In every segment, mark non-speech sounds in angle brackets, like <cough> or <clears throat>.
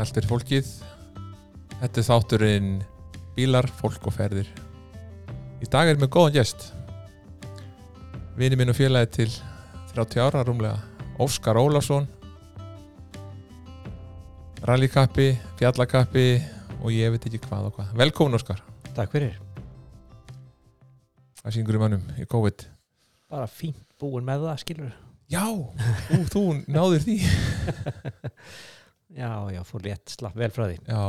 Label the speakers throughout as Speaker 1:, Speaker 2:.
Speaker 1: Allt er fólkið Þetta er þátturinn Bílar, fólk og ferðir Í dag er með góðan gest Vini minn og félagi til 30 ára rúmlega Óskar Ólafsson Rallykappi, fjallakappi og ég veit ekki hvað og hvað Velkomin Óskar,
Speaker 2: Takk fyrir.
Speaker 1: það syngur í mannum í COVID
Speaker 2: Bara fínt búin með það, skilur.
Speaker 1: Já, ú, þú náðir því
Speaker 2: Já, já, fór létt, slapp vel frá því. <clears throat>
Speaker 1: Já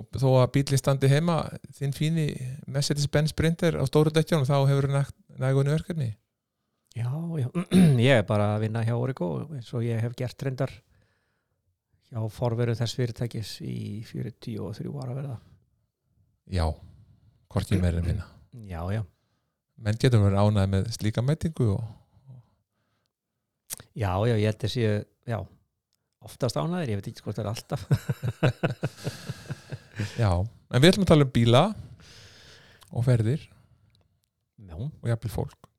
Speaker 1: og þó að bílinn standi heima þinn fíni Mercedes-Benz Sprinter á stóru dættjónum þá hefur þú nægunni verkefni
Speaker 2: Já, já, <clears throat> ég er bara að vinna hjá Origo eins og ég hef gert reyndar hjá forveru þess fyrirtækis í 43 ára verða.
Speaker 1: Já, hvorki meira en minna
Speaker 2: Já, já.
Speaker 1: menn getur verið ánæði með slíka mætingu og
Speaker 2: Já, já, ég held þessi, já, oftast ánæðir, ég veit ekki hvort það er alltaf. <laughs>
Speaker 1: já, en við ætlum að tala um bíla og ferðir
Speaker 2: Já,
Speaker 1: og jafnvel fólk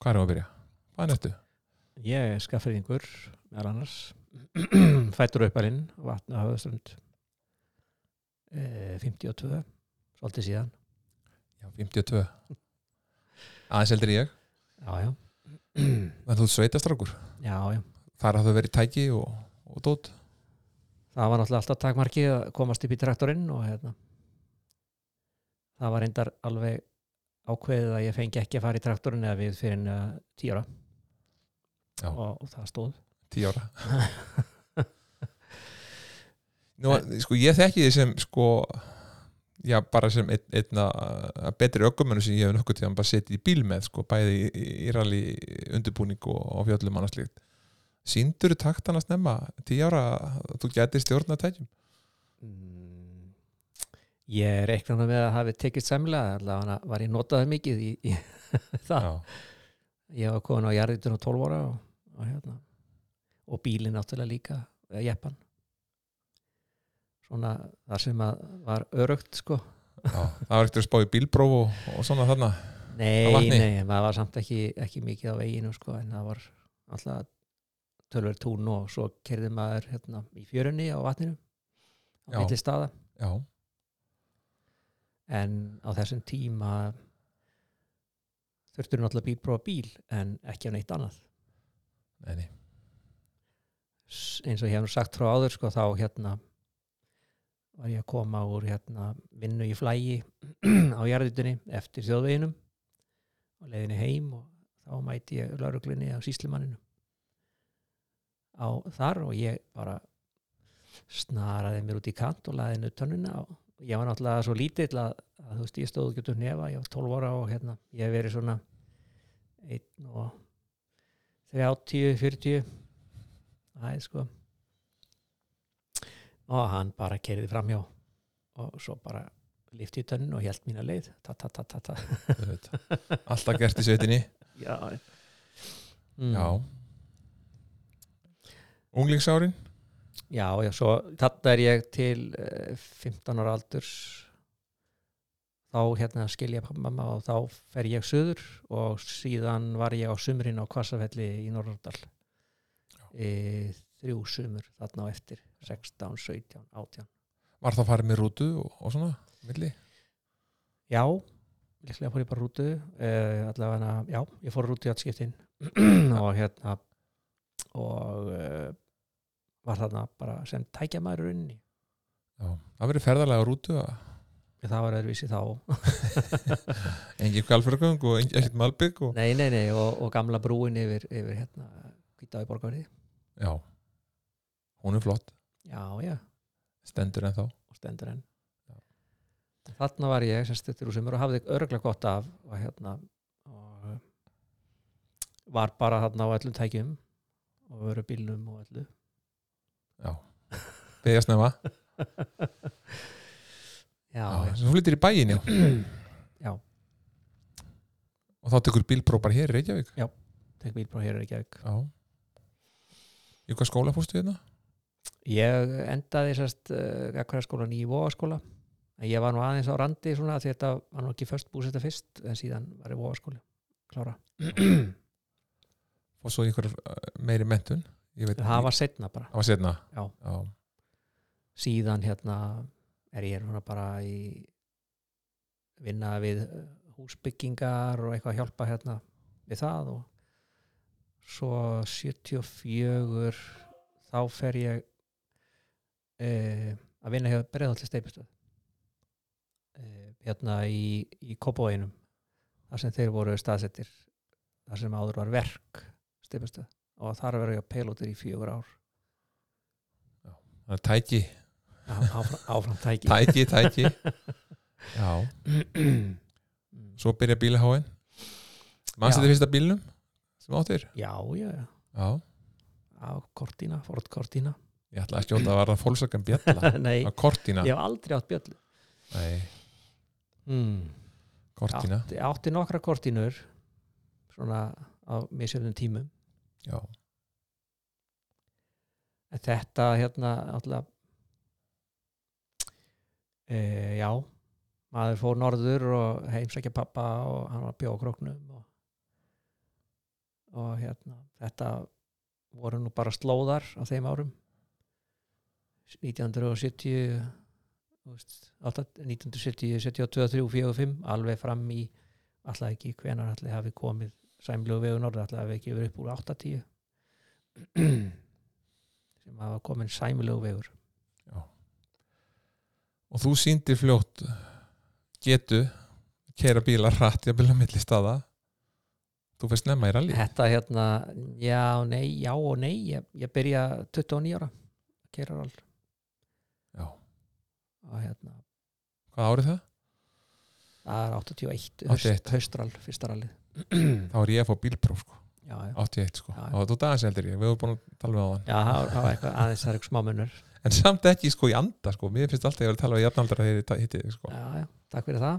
Speaker 1: Hvað erum við að byrja? Hvað er næstu?
Speaker 2: ég er skaffriðingur, meðal annars, <clears throat> fættur uppalinn, vatna höfðaströnd, eh, 52, svolítið síðan.
Speaker 1: Já, 52 Aðeins heldur ég,
Speaker 2: Já, já,
Speaker 1: en þú sveitastrákur
Speaker 2: já, já.
Speaker 1: þar hafðu verið tæki og, og dót
Speaker 2: það var náttúrulega alltaf takmarkið að komast upp í traktorinn og hérna það var reyndar alveg ákveðið að ég fengi ekki að fara í traktorinn eða við fyrir uh, tíra
Speaker 1: Já.
Speaker 2: og, og það stóð
Speaker 1: tíu ára <laughs> Nú, sko, ég þekki því sem sko já, bara sem ein, einna uh, betri ökkumennu sem ég hef nokkuð tíðan bara setið í bíl með, sko, bæði í, í, í rally undirbúning og, og fjöllum annars líkt Sýndur taktana snemma, tíu ára að þú gætir stjórna tækjum
Speaker 2: mm, ég reikna nú með að hafi tekist semlega allavega var ég notaði mikið í, í <laughs> það
Speaker 1: Ah.
Speaker 2: ég var komin á jarðitun á 12 ára og, og, hérna. og bílinn náttúrulega líka eða jeppan svona þar sem að var örugt sko
Speaker 1: já, það var ekkert að spá í bílpróf og, og svona þarna Á
Speaker 2: Nei,
Speaker 1: vatni?
Speaker 2: nei, maður var samt ekki, ekki mikið á veginu sko, en það var alltaf tölver tún og svo kerði maður hérna, í fjörunni á vatninu á
Speaker 1: Já.
Speaker 2: milli staða,
Speaker 1: já,
Speaker 2: en á þessum tíma þurftur náttúrulega bílprófa bíl en ekki á neitt annað
Speaker 1: nei, nei,
Speaker 2: S- eins og ég hef nú sagt frá áður sko, þá hérna var ég að koma úr hérna, vinnu í flægi <clears throat> á jarðutinni eftir þjóðveginum og leiðinni heim og þá mæti ég lauruglunni á síslumanninu á þar og ég bara snaraði mér út í kant og laði henni upp tönnuna og ég var náttúrulega svo lítill að, að þú veist ég stóð ekki út um nefa ég var 12 ára og hérna ég hef verið svona 1 og 30, 40 Æ, sko. og hann bara kerði framhjá og svo bara lifti í tönnin og held mína leið ta ta ta ta ta
Speaker 1: auðvitað. alltaf gert í sveitinni
Speaker 2: já, mm.
Speaker 1: já Unglingsárin?
Speaker 2: já, já, svo þetta er ég til eh, 15 ára aldurs þá hérna skilja pappa og mamma og þá fer ég söður og síðan var ég á sumrin á Kvassafelli í Norröndal e, þrjú sumur þarna á eftir 16, 17, 18
Speaker 1: Var það farið með rútu og, og svona? Milli?
Speaker 2: Já, líklega fór ég bara rútu uh, allavega, já, ég fór rútu í atskiptin og hérna og uh, var þarna bara sem tækja maður runni
Speaker 1: Já, það verið ferðalega á rútu að-
Speaker 2: það var öðruvísi þá
Speaker 1: engin kvalfjörgöng og engin, ekkert malbygg og,
Speaker 2: nei, nei, nei, og, og gamla brúin yfir, yfir hérna, hvitaði borgarið
Speaker 1: Já, hún er flott
Speaker 2: já, já,
Speaker 1: stendur en þá
Speaker 2: og stendur enn þarna var ég sem stuttur úr sumur og hafði örglega gott af og hérna og eh, var bara þarna á öllum tækjum og veru bílnum og öllu <laughs>
Speaker 1: Beðja snemma
Speaker 2: já,
Speaker 1: Já,
Speaker 2: já.
Speaker 1: Svo flyttir í bæin já
Speaker 2: <clears throat> Já.
Speaker 1: Og þá tekur bílprópar hér í Reykjavík
Speaker 2: fekk bílpróf hér í Reykjavík
Speaker 1: já í hvað skóla fórstu hérna?
Speaker 2: ég endaði sérst uh, akkurat skólan í Vóaskóla en ég var nú aðeins á randi svona af því þetta var nú ekki först búsetta fyrst en síðan var ég Vóaskóla klára
Speaker 1: og svo í einhver uh, meiri mentun ég veit
Speaker 2: það var setna bara
Speaker 1: það var setna
Speaker 2: Já.
Speaker 1: já,
Speaker 2: síðan hérna er ég hérna bara í vinna við eh, húsbyggingar og eitthvað að hjálpa hérna við það og svo 74 þá fer ég e, að vinna hjá Breiðholtli steipustöð e, hérna í, í Kópavóinum þar sem þeir voru staðsettir þar sem áður var verk steipustöð og þar verður ég að pelótir í fjögur ár
Speaker 1: það er tæki
Speaker 2: áfram, áfram tæki
Speaker 1: tæki, tæki
Speaker 2: <laughs>
Speaker 1: já, svo byrja bílaháin mannstu
Speaker 2: Já.
Speaker 1: þetta fyrsta bílnum sem áttir
Speaker 2: já, já, já,
Speaker 1: já,
Speaker 2: á kortína, Ford kortína
Speaker 1: ég ætla ekki óta að varða fólksakan bjalla
Speaker 2: <laughs> Nei,
Speaker 1: á kortina
Speaker 2: ég hef aldrei átt bjöllu
Speaker 1: nei,
Speaker 2: mm.
Speaker 1: kortina
Speaker 2: átti, átti nokkra kortínur svona á misjöfnum tímum
Speaker 1: já,
Speaker 2: en þetta hérna alltaf e, já maður fór norður og heimsækja pappa og hann var bjóð á króknum og, og hérna þetta voru nú bara slóðar á þeim árum 1970 þú veist, alltaf 1970, 72, 3, 4, 5 alveg fram í alltaf ekki hvenar alltaf hafi komið sæmlegu vegu norður alltaf hafi ekki verið upp úr 80 sem hafa komin sæmlegu vegur
Speaker 1: og þú sýndir fljótt getu kera bíla hratt í að bíla milli staða þú fyrst nefna í rally
Speaker 2: þetta hérna, já, nei, já og nei ég, ég byrja 29 ára keirar all
Speaker 1: Já.
Speaker 2: og hérna,
Speaker 1: hvað árið það?
Speaker 2: það er 81
Speaker 1: 81.
Speaker 2: haust, haustral, fyrsta rallið
Speaker 1: þá er ég að fá bílpróf sko,
Speaker 2: Mm. já, já
Speaker 1: 81 sko
Speaker 2: Já, já.
Speaker 1: og þú dagans heldur ég, við erum búin að tala með á hann
Speaker 2: já, það var- það var eitthvað aðeins það er eitthvað smámunur
Speaker 1: en samt ekki sko í anda sko mér finnst alltaf ég verið að tala við jafnaldra þegar ég ta- hitti þig sko
Speaker 2: já, já, takk fyrir það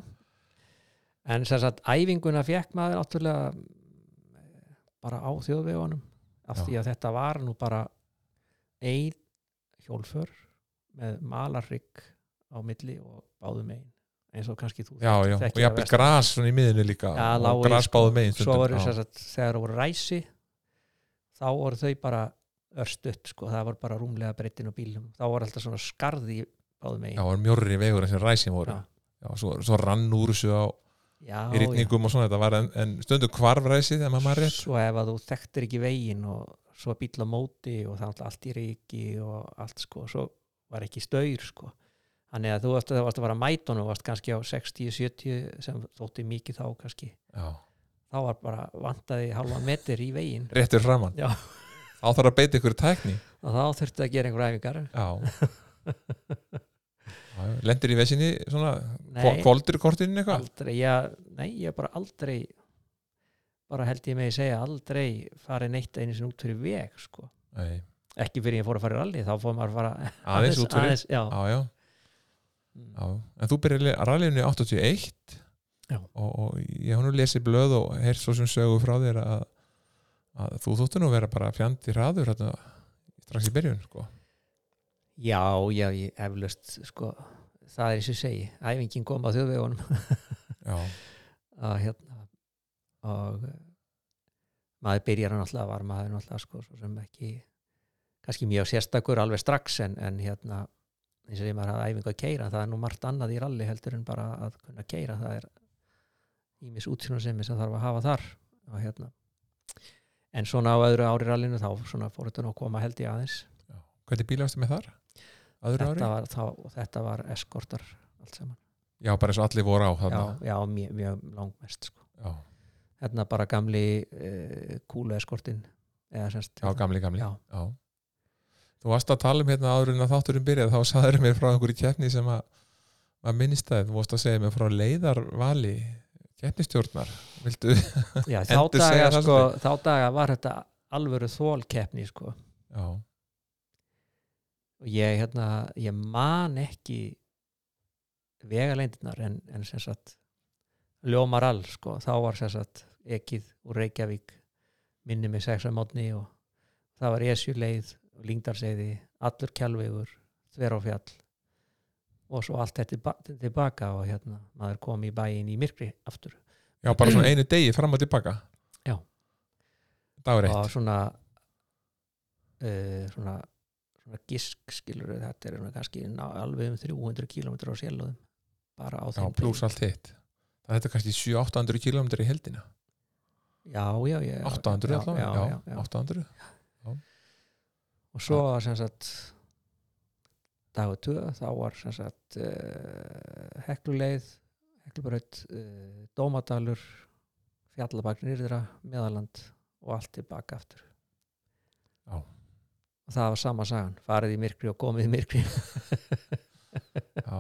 Speaker 2: en sem sagt æfinguna fekk maður náttúrulega eh, bara á þjóðvegunum af
Speaker 1: Já.
Speaker 2: því að þetta var nú bara ein hjólför með malarrygg á milli og báðum ein eins og kannski þú
Speaker 1: já, já,
Speaker 2: þekkir
Speaker 1: og
Speaker 2: það
Speaker 1: jafnvel
Speaker 2: verst.
Speaker 1: gras svona í miðinu líka
Speaker 2: Já, lágu
Speaker 1: og
Speaker 2: í,
Speaker 1: gras
Speaker 2: sko,
Speaker 1: báðu megin
Speaker 2: svo voru
Speaker 1: já.
Speaker 2: sem sagt, þegar það voru ræsi þá voru þau bara örstutt sko, það voru bara rúmlega breytin á bílum þá voru alltaf svona skarði báðum
Speaker 1: já,
Speaker 2: ein
Speaker 1: og mjórri vegur sem ræsin voru
Speaker 2: Já.
Speaker 1: já. svo, svo rann úr þessu á
Speaker 2: já,
Speaker 1: í rýtningum og svona þetta var en, en stundu hvarf ræsið þegar maður var rétt
Speaker 2: svo ef að þú þekktir ekki veginn og svo bíll á móti og það er allt í reiki og allt sko svo var ekki staur sko þannig að þú varst, þú varst að vara mætun og varst kannski á 60-70 sem þótti mikið þá kannski
Speaker 1: já.
Speaker 2: þá var bara vantaði halva metur í veginn
Speaker 1: réttur framann
Speaker 2: Já.
Speaker 1: þá þarf að beita ykkur tækni
Speaker 2: og þá þurfti að gera einhver æfingar <laughs>
Speaker 1: já Já, já. lendir í vesinni svona
Speaker 2: Nei.
Speaker 1: koldur kortinu eitthvað
Speaker 2: aldrei, ég, nei ég bara aldrei bara held ég með að segja aldrei farið neitt einu sinni út fyrir veg sko
Speaker 1: Nei,
Speaker 2: ekki fyrir ég fór að fara í rally þá fór maður að fara
Speaker 1: aðeins út fyrir
Speaker 2: aðeins, já,
Speaker 1: já, já,
Speaker 2: Mm.
Speaker 1: já. en þú byrjar að rallinu 81
Speaker 2: Já.
Speaker 1: og, og ég hef nú lesið blöð og heyrt svo sem sögu frá þér að, að þú þóttu nú vera bara fjandi hraður hérna, strax í byrjun sko.
Speaker 2: Já, já, ég eflaust sko, það er eins og ég segi æfingin kom á þjóðvegunum
Speaker 1: já,
Speaker 2: að hérna og eh, maður byrjar náttúrulega var maður náttúrulega sko, svo sem ekki kannski mjög sérstakur alveg strax en, en hérna eins og ég maður hafa æfingu að keira það er nú margt annað í ralli heldur en bara að kunna keira það er ímis útsýnum sem þarf að hafa þar og hérna en svona á öðru ári rallinu þá svona fór þetta nú að koma held ég aðeins
Speaker 1: já. hvernig bíl varstu með þar? aðra ári?
Speaker 2: þetta var, þá, þetta var eskortar allt saman,
Speaker 1: já, bara eins og allir voru á
Speaker 2: já,
Speaker 1: þarna
Speaker 2: já mjög, mjög langmest sko.
Speaker 1: já,
Speaker 2: hérna bara gamli uh, kúla eskortin eða semst
Speaker 1: já, gamli, gamli
Speaker 2: Já.
Speaker 1: þú varst að tala um hérna áður en að þátturum byrjað þá saður mér frá einhverju keppni sem að að minnist það, þú vorst að segja mér frá leiðarvali keppnistjórnar viltu,
Speaker 2: hérna. já, þá,
Speaker 1: Endur segja
Speaker 2: daga,
Speaker 1: það
Speaker 2: sko, þá daga var þetta alvöru þólkeppni sko.
Speaker 1: já,
Speaker 2: og ég, hérna, ég man ekki vegaleindirnar en, en sem sagt ljómar all sko. þá var sem sagt ekið úr Reykjavík minni mig sex á mótni og það var Esjuleið og Lingdarseiði, allur kjálvegur þveráfjall og svo allt þetta ba- tilbaka og hérna, maður kom í bæinn í myrkri aftur
Speaker 1: Já, bara
Speaker 2: <clears throat>
Speaker 1: svona einu degi fram og tilbaka
Speaker 2: Já.
Speaker 1: Dagur
Speaker 2: og
Speaker 1: eitt
Speaker 2: svona uh, svona, svona gisk skilur þetta er svona kannski ná, alveg um 300 km á sjálfum bara á
Speaker 1: Já,
Speaker 2: þeim
Speaker 1: pluss
Speaker 2: degi.
Speaker 1: allt hitt Það er þetta kannski 700-800 km í heldina
Speaker 2: já, já, já,
Speaker 1: 800
Speaker 2: já,
Speaker 1: allavega,
Speaker 2: já, já, já,
Speaker 1: 800
Speaker 2: og svo var sem sagt dagur 2 þá var sem sagt uh, hekluleið heklubraut, uh, dómadalur fjallabak nýrðra meðaland og allt tilbaka aftur
Speaker 1: Já.
Speaker 2: og það var sama sagan farið í myrkri og komið í myrkri
Speaker 1: Já.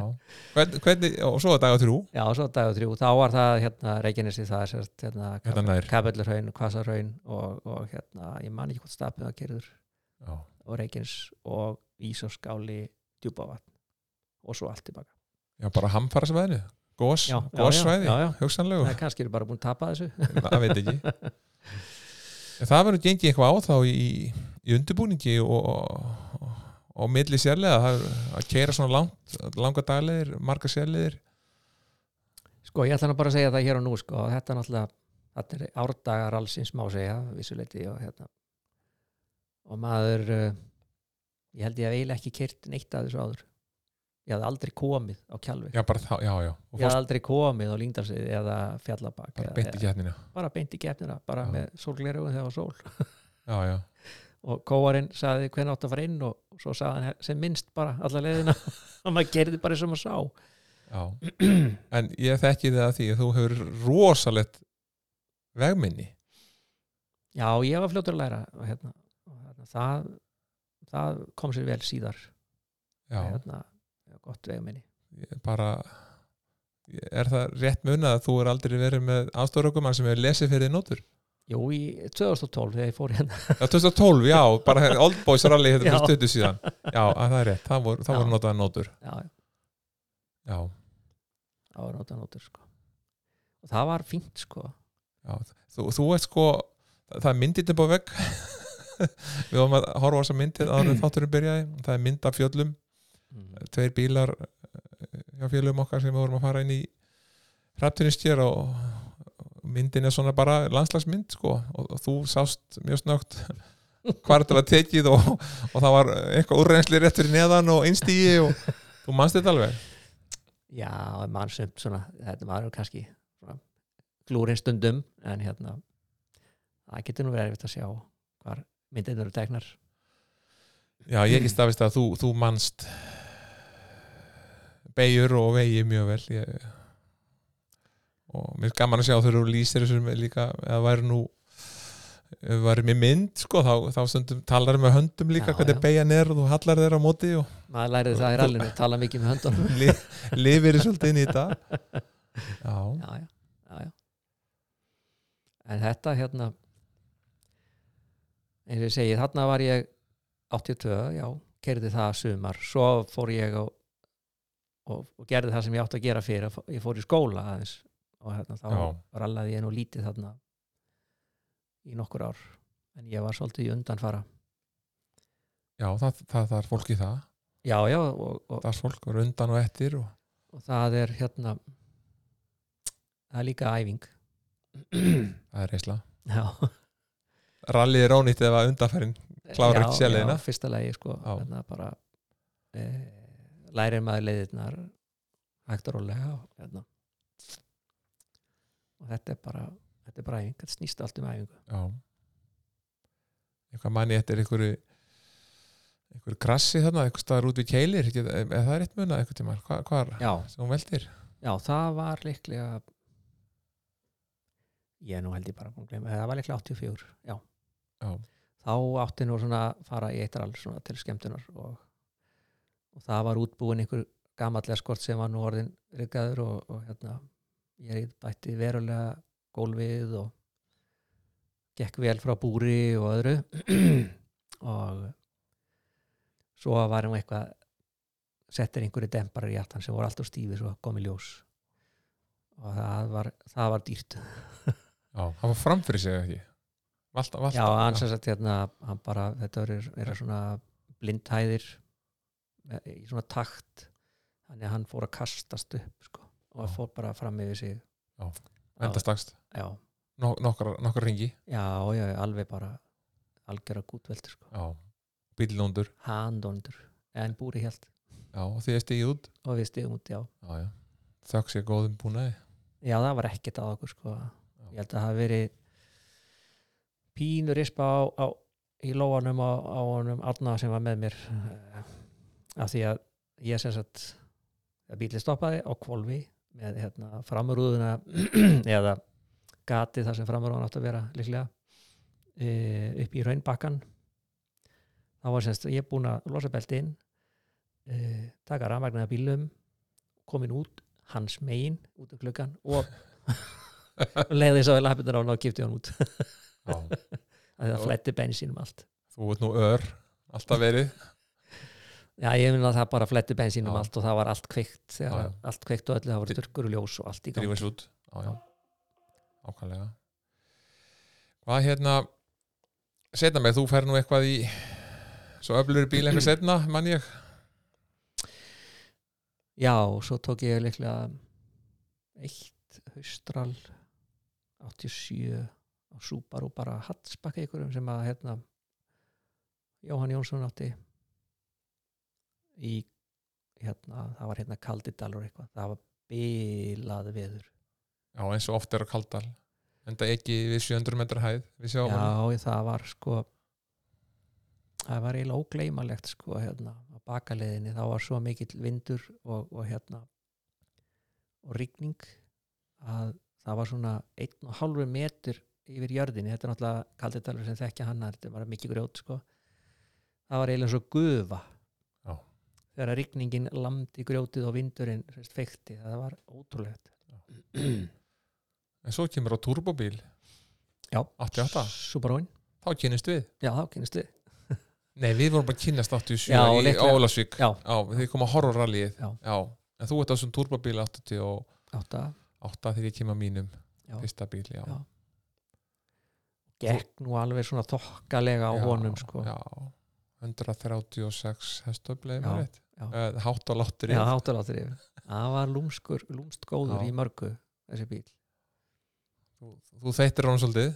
Speaker 1: Hvern, hvernig, og svo er dagur þrjú
Speaker 2: já og svo dagur 3 þá var það hérna Reykjanesi það er sem sagt hérna,
Speaker 1: Þetta nær
Speaker 2: Kabellurhaun, Kvassarhaun og, og hérna, ég man ekki hvort stapið að gerður
Speaker 1: Já.
Speaker 2: og Reykjans og Ísaskáli djúpavatn og svo allt tilbaka
Speaker 1: Já, bara hamfara svæðinu Gós,
Speaker 2: Já, já,
Speaker 1: góssvæði,
Speaker 2: já, já.
Speaker 1: hugsanlegu
Speaker 2: það er kannski eru bara búin að tapa þessu
Speaker 1: <laughs>
Speaker 2: <laughs>
Speaker 1: Það veit ekki En Það verður gengið eitthvað á þá í, í undirbúningi og, og, og, og milli sérlega það er að keira svona langt, langa daglegir marga sérlegir
Speaker 2: sko ég ætla nú bara að segja það hér og nú sko að þetta er náttúrulega, þetta er árdagar allsins má segja, vissuleiti og hérna og maður eh, ég held ég að eiginlega ekki kert neitt að þessu áður ég hafði aldrei komið á Kjalvik
Speaker 1: Já, bara þá, já, já og
Speaker 2: ég hafði aldrei komið á Lingdalsið eða Fjallabak
Speaker 1: bara beint í getnina
Speaker 2: bara beint í gefnina, bara
Speaker 1: Já.
Speaker 2: með sólglerugun þegar var sól
Speaker 1: Já, já,
Speaker 2: og kóarinn saði hvernig átt að fara inn og svo saði hann sem minnst bara alla leiðina <laughs> og maður gerði bara eins og maður sá
Speaker 1: já
Speaker 2: <clears throat>
Speaker 1: En ég þekki það því að þú hefur rosalegt vegminni
Speaker 2: já, ég var fljótur að læra og hérna, og hérna það, það kom sér vel síðar
Speaker 1: Já,
Speaker 2: hérna, ég var gott vegum minni
Speaker 1: ég bara Er það rétt munað að þú er aldrei verið með aðstofrökumann sem hefur lesið fyrir þig nótur?
Speaker 2: jú, í 2012 þegar ég fór hérna
Speaker 1: Já, 2012, já, bara Old Boys Rally hérna
Speaker 2: Já.
Speaker 1: fyrir stuttu síðan Já, að það er rétt, það voru, það
Speaker 2: Já.
Speaker 1: voru notaðar nótur
Speaker 2: já, já,
Speaker 1: Já,
Speaker 2: það var nóta nótur sko. og það var fínt sko
Speaker 1: já, þú, þú ert sko það er myndið upp á vegg <laughs> Við varum að horfa á þessa myndið áður þátturum byrjaði, það er mynd af fjöllum tveir bílar eh, hjá félögum okkar sem við vorum að fara inn í hræpturinnstjör og og myndin er svona bara landslagsmynd sko, og, og þú sást mjög snögt <laughs> hvar þetta var tekið og, og það var eitthvað úrrensli rétt fyrir neðan og einstígi og þú manst þetta alveg
Speaker 2: já, mann sem svona þetta maður er kannski svona glúrin stundum en hérna það getur nú verið erfitt að sjá hvar myndin eru teknar
Speaker 1: já ég ekki stafist að þú, þú manst beigur og vegi mjög vel ég, og mér er gaman að sjá þau eru lýsir þessum líka eða væri nú ef væri með mynd sko þá, þá stundum talar með höndum líka
Speaker 2: Já,
Speaker 1: hvernig
Speaker 2: já.
Speaker 1: beigjan er og þú hallar þeirra á móti og <laughs>
Speaker 2: maður lærið það í rallinu, tala mikið með höndunum
Speaker 1: li, lifir svolítið inn í þetta já,
Speaker 2: já, já, já, já. en þetta hérna eins og ég segi, þarna var ég 82, já, gerði það sumar, svo fór ég og, og, og gerði það sem ég átti að gera fyrir, að fó- ég fór í skóla aðeins og hérna, þá
Speaker 1: Já.
Speaker 2: rallaði ég nú lítið þarna í nokkur ár en ég var svolítið í undanfara
Speaker 1: já það, það, það er fólk í það
Speaker 2: já, já, og, og,
Speaker 1: það er fólk og rundan og eftir og,
Speaker 2: og það er hérna það er líka æfing
Speaker 1: það er reisla
Speaker 2: já
Speaker 1: rallið er ónýtt ef að undanfærin klárar
Speaker 2: Já,
Speaker 1: ekki sérleiðina.
Speaker 2: já, fyrsta lagi sko
Speaker 1: Já.
Speaker 2: þannig að bara e, lærir maður leiðirnar hægt og rólega og, hérna. og þetta er bara þetta er bara æfing, þetta snýst allt um æfingu
Speaker 1: Já Eitthvað manni þetta er einhverju einhverju grassi þarna, einhver staðar út við keilir get- eða það er rétt muna einhvern tímann hvar, hvar
Speaker 2: já,
Speaker 1: sem hún veldir
Speaker 2: já, það var líklega ég er nú held ég bara búin að gleyma, það var líklega 84 já,
Speaker 1: Já,
Speaker 2: þá átti nú svona að fara í eitral svona til skemmtunar og, og það var útbúin einhver gamall eskort sem var nú orðin ryggaður og, og hérna ég bætti verulega gólfið og gekk vel frá búri og öðru <clears throat> og svo var hann eitthvað settir einhverju dempar í aftan sem voru alltaf stífi svo kom í ljós og það var, það var dýrt
Speaker 1: já, það var framfyrir sig ekki Valta, valta
Speaker 2: já, hann sem sagt hérna hann bara, þetta eru, eru svona blindhæðir eh, í svona takt þannig að hann fór að kastast upp sko, og
Speaker 1: Já.
Speaker 2: fór bara fram yfir sig
Speaker 1: Endastakst,
Speaker 2: já,
Speaker 1: nok nokkar, nokkar ringi
Speaker 2: já, já, alveg bara algjör að gútveldi sko
Speaker 1: Já, bíllóndur
Speaker 2: handóndur, en búri helt
Speaker 1: Já, og því er stigið út
Speaker 2: og við stigum út, já
Speaker 1: Já, já Þökk sé góðum búnaði
Speaker 2: já, það var ekkert á okkur sko ég held að það hafi verið pínur rispa á, á í lóanum á, á honum Arna sem var með mér eh, af því að ég sem sagt að bíli stoppaði á kvolfi með hérna framrúðuna <clears throat> eða gatið þar sem framrúðan átt að vera líklega e, upp í raunbakkan þá var semst ég búin að losa belti inn e, taka rafmagnið af bílum komin út hans megin út um klukkan og <laughs> leiði svo í lappinnar á hann og kipti hann út
Speaker 1: Já,
Speaker 2: að
Speaker 1: Já.
Speaker 2: það flætti bensínum allt
Speaker 1: þú ert nú ör Alltaf verið
Speaker 2: já ég finn að það bara flætti bensínum
Speaker 1: Já.
Speaker 2: allt og það var allt kveikt þegar
Speaker 1: Já, já.
Speaker 2: allt kveikt og öllu það voru
Speaker 1: Dri-
Speaker 2: turkur og ljós og allt í gangi
Speaker 1: Drífans út Já, já Ákvæmlega Hvað hérna Setna mig, þú fer nú eitthvað í Svo öflur bíl eitthvað setna, mann ég
Speaker 2: já og svo tók ég líklega eitt haustral 87 og Subaru bara hatsbakka ykkurum sem að hérna Jóhann Jónsson átti í hérna, það var hérna kaldidalur eitthvað, það var bilað veður
Speaker 1: Já, eins og oft er á kaldal Enda ekki við 700 metra hæð Við sjáum hann.
Speaker 2: Já, ég- það var sko það var eiginlega ógleymalegt sko hérna á bakaleðinni þá var svo mikill vindur og, og hérna og rigning að það var svona einn og hálfur metur yfir jörðinni, þetta er náttúrulega kalditalur sem þekkja hana, þetta var mikið grjót sko það var eiginlega svo gufa
Speaker 1: Já.
Speaker 2: þegar að rigningin lamdi grjótið og vindurinn sem sagt, feikti, það var ótrúlegt
Speaker 1: En svo kemur á turbóbíl
Speaker 2: Já,
Speaker 1: 88,
Speaker 2: Subaruinn,
Speaker 1: þá kynist við
Speaker 2: já þá kynist við
Speaker 1: Nei, við vorum bara að kynast 87
Speaker 2: Já,
Speaker 1: í
Speaker 2: líklega.
Speaker 1: Ólasvík
Speaker 2: Já.
Speaker 1: þið koma horrorrallið
Speaker 2: Já.
Speaker 1: En þú ert á þessum turbóbíl 88
Speaker 2: átta,
Speaker 1: þegar ég kem að mínum
Speaker 2: Já.
Speaker 1: Fyrsta bíl, já,
Speaker 2: Já. gekk nú alveg svona þokkalega á
Speaker 1: Já,
Speaker 2: honum sko.
Speaker 1: já. 136 hestöfli
Speaker 2: Já,
Speaker 1: uh,
Speaker 2: já.
Speaker 1: Hátt og láttur
Speaker 2: Já, hátaláttur yfir það var lúmskur, lúmst góður
Speaker 1: Já.
Speaker 2: í mörgu þessi bíl
Speaker 1: Þú, þú þeittir honum svolítið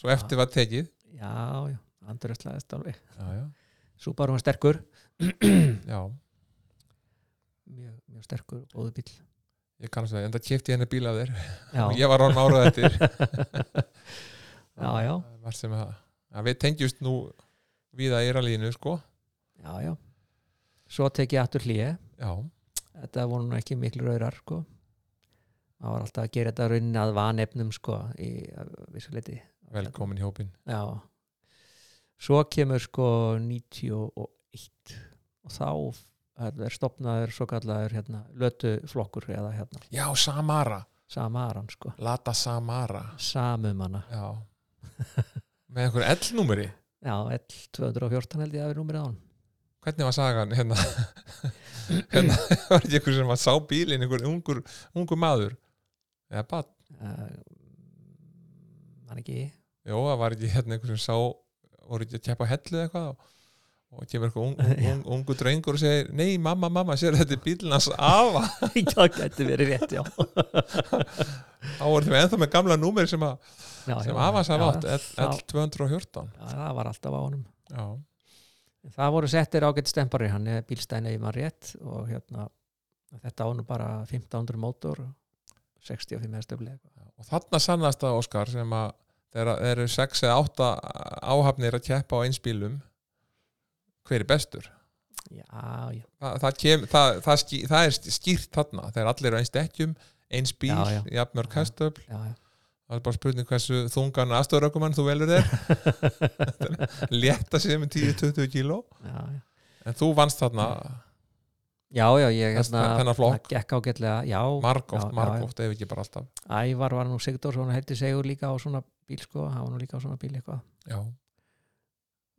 Speaker 1: Svo eftir var tekið
Speaker 2: já, já, andröðslaðist alveg
Speaker 1: Já, já,
Speaker 2: Subaru var sterkur
Speaker 1: <clears throat> já.
Speaker 2: mjög, mjög sterkur, og góður bíl
Speaker 1: Ég kannast við, enda kefti henni bíl af þér og
Speaker 2: já,
Speaker 1: <laughs> ég var honum árað eftir <laughs>
Speaker 2: <laughs> já, já,
Speaker 1: Það var sem að, að við tengjumst nú viða í rallínu sko
Speaker 2: já, já. svo tek ég aftur hlýja
Speaker 1: já,
Speaker 2: þetta voru nú ekki miklu raurar sko. það var alltaf að gera þetta raunin að vanefnum sko, í vissuleiti
Speaker 1: velkomin í hópin
Speaker 2: Já Svo kemur sko 91 og þá hérna, er stopnaður svo kallaður hérna, lötu flokkur eða hérna
Speaker 1: já, Samara,
Speaker 2: samaran sko
Speaker 1: Lata Samara
Speaker 2: samumanna
Speaker 1: já
Speaker 2: <laughs>
Speaker 1: með einhver L-númeri,
Speaker 2: Já, L214 held ég að við númerið á hann
Speaker 1: hvernig var sagan hérna <laughs> hérna var ekki einhver sem að sá bílinn, einhver ungur ungur maður eða bara,
Speaker 2: uh, Mann ekki <laughs>
Speaker 1: jó, það var ekki hérna einhver sem sá, voru ekki að keppa á hellu eða eitthvað og- og kemur eitthvað ung, ung,
Speaker 2: Já.
Speaker 1: ung, ungu drengur og segir nei, mamma, mamma, sér þetta er bílinn hans afa
Speaker 2: Það gæti verið rétt, já
Speaker 1: þá voru þeim ennþá með gamla númeri sem að
Speaker 2: Já, já,
Speaker 1: sem Avas hafa
Speaker 2: já,
Speaker 1: átt
Speaker 2: þá-
Speaker 1: L214
Speaker 2: Já, það var alltaf á honum
Speaker 1: já,
Speaker 2: En Það voru settir ágætt stempari hann er bílstæni í maður rétt og hérna þetta á nú bara 1500 mótor og 65 hestöfli eitthvað
Speaker 1: og þarna sannast að Óskar sem að þeirra þeir eru sex eða átta áhafnir að keppa á einspílum hver er bestur
Speaker 2: Já, já,
Speaker 1: Þa, það, kem, það, það, ský, það er skýrt þarna þegar allir eru einstekkjum eins bíl,
Speaker 2: Já, já.
Speaker 1: jafnmörg
Speaker 2: Já.
Speaker 1: hestöfl
Speaker 2: já, já.
Speaker 1: það er bara spurning hversu þungan aðstofrökumann þú velur
Speaker 2: <laughs>
Speaker 1: þér létta sér með 10-20 kíló
Speaker 2: já, já.
Speaker 1: en þú vannst þarna
Speaker 2: Já, já, ég
Speaker 1: Þess-
Speaker 2: hérna,
Speaker 1: þennan flokk.
Speaker 2: það gekk ágætlega, já, Já,
Speaker 1: margóft,
Speaker 2: já,
Speaker 1: margóft, ef ekki bara alltaf
Speaker 2: Ævar var nú Sigdórsson, heiti Sigur líka á svona bíl, sko, hann var nú líka á svona bíl eitthvað
Speaker 1: já,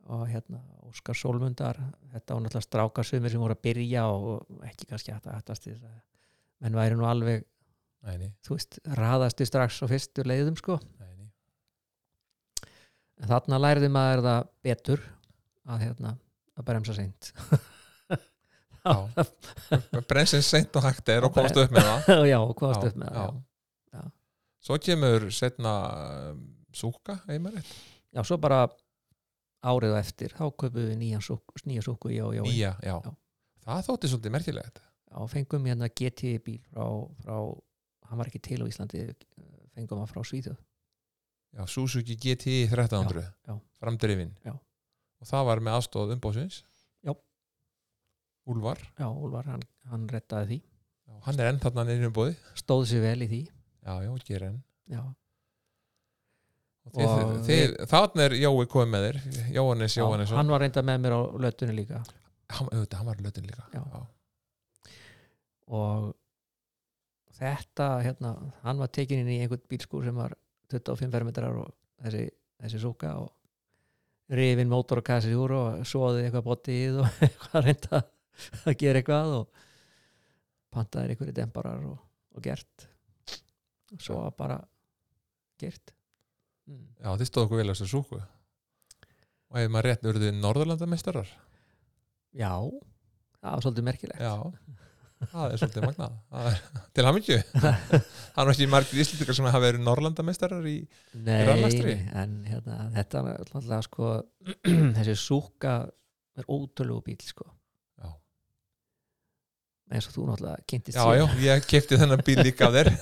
Speaker 2: og hérna, Óskar Sólmundar þetta var náttúrulega stráka sumir sem voru að byrja og og ekki kannski hægt að hættast í þess að menn væri nú alveg,
Speaker 1: næni,
Speaker 2: þú veist, raðasti strax á fyrstu leiðum, sko
Speaker 1: næni
Speaker 2: en þarna læriði maður það betur að, hérna, að bremsa seint <laughs>
Speaker 1: Já. Bremsin seint og hægt er og komast upp með
Speaker 2: <laughs>
Speaker 1: það
Speaker 2: já, og komast upp með
Speaker 1: Já,
Speaker 2: það já.
Speaker 1: já.
Speaker 2: Já.
Speaker 1: Svo kemur um, setna súka, einmar rétt
Speaker 2: já, svo bara árið á eftir þá kaupum við nýjan súk- nýja súku já, já,
Speaker 1: Nýja, já.
Speaker 2: Já.
Speaker 1: Það þótti svolítið merkilegt
Speaker 2: já, fengum hérna GT bíl frá, frá, hann var ekki til á Íslandi fengum hann frá Svíþjóð
Speaker 1: já, Suzuki GT 1300
Speaker 2: Já, já.
Speaker 1: framdrifin
Speaker 2: Já.
Speaker 1: og það var með aðstóð umbóðsins
Speaker 2: Já.
Speaker 1: Úlfar,
Speaker 2: já, Úlfar, hann, hann rettaði því
Speaker 1: já, hann er enn þarna neyri umbóði
Speaker 2: stóð sér vel í því
Speaker 1: Já, já, gerir enn
Speaker 2: já,
Speaker 1: og þið,
Speaker 2: Og
Speaker 1: þið, þið, Þannig er Jói komið með þér Jóhannes
Speaker 2: já
Speaker 1: Jóhannesson
Speaker 2: hann var reynda með mér á löttunni líka
Speaker 1: hann, auðvitað, hann var lötin líka
Speaker 2: Já. og þetta hérna, hann var tekin inn í einhvern bílskúr sem var 25 fermetrar og þessi, þessi súka og rifin mótor og kassið úr og svoði eitthvað bótið og <laughs> eitthvað reynda að gera eitthvað og pantaðir einhverju demparar og, og gert og svo var bara gert mm.
Speaker 1: já, þið stóðu okkur vel á þessu súku og ef maður rétt urðu Norðurlandameistarar
Speaker 2: já, það var svolítið merkilegt
Speaker 1: Já, það er svolítið magnað Það er, <laughs> Til
Speaker 2: <laughs>
Speaker 1: hamingju Það er ekki margir íslendingar sem hafa verið Norðurlandameistarar í
Speaker 2: Nei,
Speaker 1: rafmagnsdrifið?
Speaker 2: nei, en hérna, þetta er alltaf sko <clears throat> þessi súka er ótrúlegu bíl sko
Speaker 1: Já.
Speaker 2: eins og þú náttúrulega kynntist
Speaker 1: Já, já,
Speaker 2: síðan.
Speaker 1: ég kefti þennan bíl líka af þér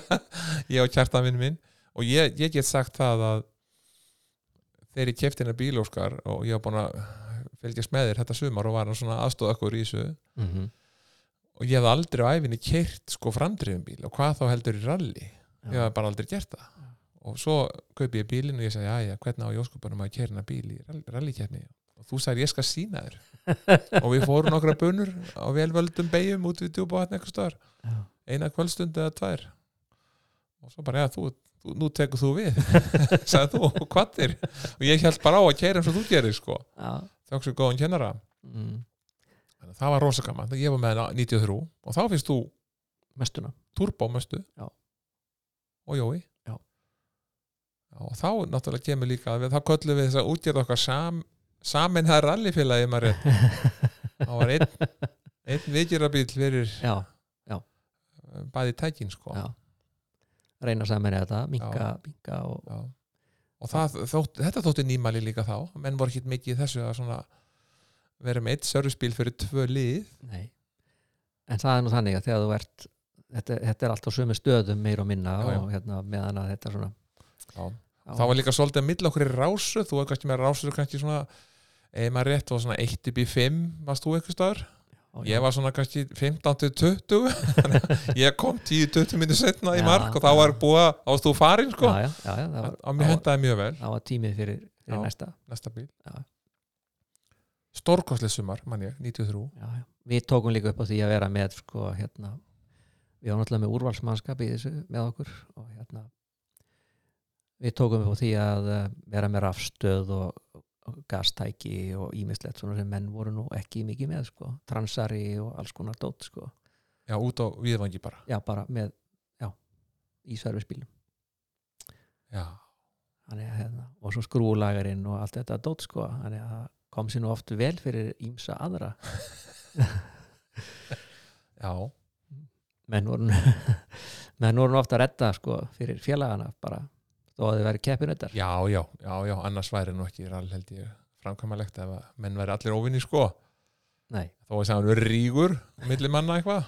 Speaker 1: <laughs> Ég og kjartan minn minn og ég, ég get sagt það að þegar ég kefti hennar bíl Óskar og ég var búin að fylgjast með þér þetta sumar og var hann svona aðstóð okkur í þessu
Speaker 2: Mhm.
Speaker 1: og ég hafði aldrei á æfinni kert sko framdrifum bíl og hvað þá heldur í rally ég
Speaker 2: já,
Speaker 1: hafði bara aldrei gert það og svo kaupi ég bílinn og ég sagði, já, já, hvernig á jóskupanum að kera hennar bíl í rallykeppni og þú sagði, ég skal sína þér og við fórum nokkra bunur á velvöldum beigjum út við djúpa hann eitthvað stöðar
Speaker 2: já.
Speaker 1: eina kvöldstund eða tvær og svo bara, já, þú, þú nú tekur þú
Speaker 2: <laughs>
Speaker 1: við sagði þú, og hvað þér og ég held bara á að kera eins og þú gerir sko
Speaker 2: já.
Speaker 1: þjóks við góðan kennara
Speaker 2: Mm.
Speaker 1: Þannig að það var rosa gaman, ég var með hana 93 og þá finnst þú
Speaker 2: mestuna
Speaker 1: turbómöstu
Speaker 2: Já.
Speaker 1: og Jói
Speaker 2: Já.
Speaker 1: Já, og þá náttúrulega kemur líka að við, þá köllum við þess að útgjörða okkar sam, samin það rallifélagi maður
Speaker 2: <laughs>
Speaker 1: rétt. þá var einn, einn vikirabíl fyrir
Speaker 2: já,
Speaker 1: eh, bæði tækin sko
Speaker 2: já reyna saman eða þetta, minka, minka og,
Speaker 1: Já. og það, þótt, þetta þótti nýmæli líka þá menn voru ekki mikið í þessu að svona vera með eitt sörfspíl fyrir tvö lið
Speaker 2: nei en það er nú þannig að þegar þú ert þetta, þetta er allt á sömu stöðum meir og minna
Speaker 1: Já, já.
Speaker 2: og hérna meðan að þetta er svona
Speaker 1: Já. þá var líka svolítið að milla okkur í rásu þú var kannski með rásu kannski svona eða maður rétt og svona 1 upp í 5 varst þú eitthvað staðar
Speaker 2: Ó, já.
Speaker 1: Ég var svona kannski 15 til 20 þannig að <laughs> ég kom 10-20 minni setna í
Speaker 2: Já,
Speaker 1: mark og þá var búið að ást þú farin sko,
Speaker 2: já, já, já, já, það var,
Speaker 1: að mér hendaði mjög vel
Speaker 2: það var tímið fyrir,
Speaker 1: Já.
Speaker 2: fyrir næsta
Speaker 1: næsta bíl
Speaker 2: Já.
Speaker 1: Stórkostlega sumar, mann ég, 93
Speaker 2: já, já. við tókum líka upp á því að vera með sko, hérna, við varum alltaf með úrvalsmannskap í þessu með okkur og hérna við tókum upp á því að eh, vera með rafstöð og, og gastæki og ímislegt svona sem menn voru nú ekki mikið með sko, transari og alls konar dót sko,
Speaker 1: Já, út á viðvangi bara
Speaker 2: já bara með já, í sverfisbílum
Speaker 1: Já,
Speaker 2: þannig að hérna, og svo skrúlagarinn og allt þetta dót sko, þannig að það kom sér nú oft vel fyrir ímsa aðra
Speaker 1: já,
Speaker 2: menn voru <laughs> menn voru nú ofta að redda sko fyrir félagana bara þó að þið væri keppinautar
Speaker 1: já, já, já, já annars væri nú ekki all held ég framkvæmalegt ef að menn væri allir óvinni sko
Speaker 2: nei,
Speaker 1: þó að það var rígur milli manna eitthvað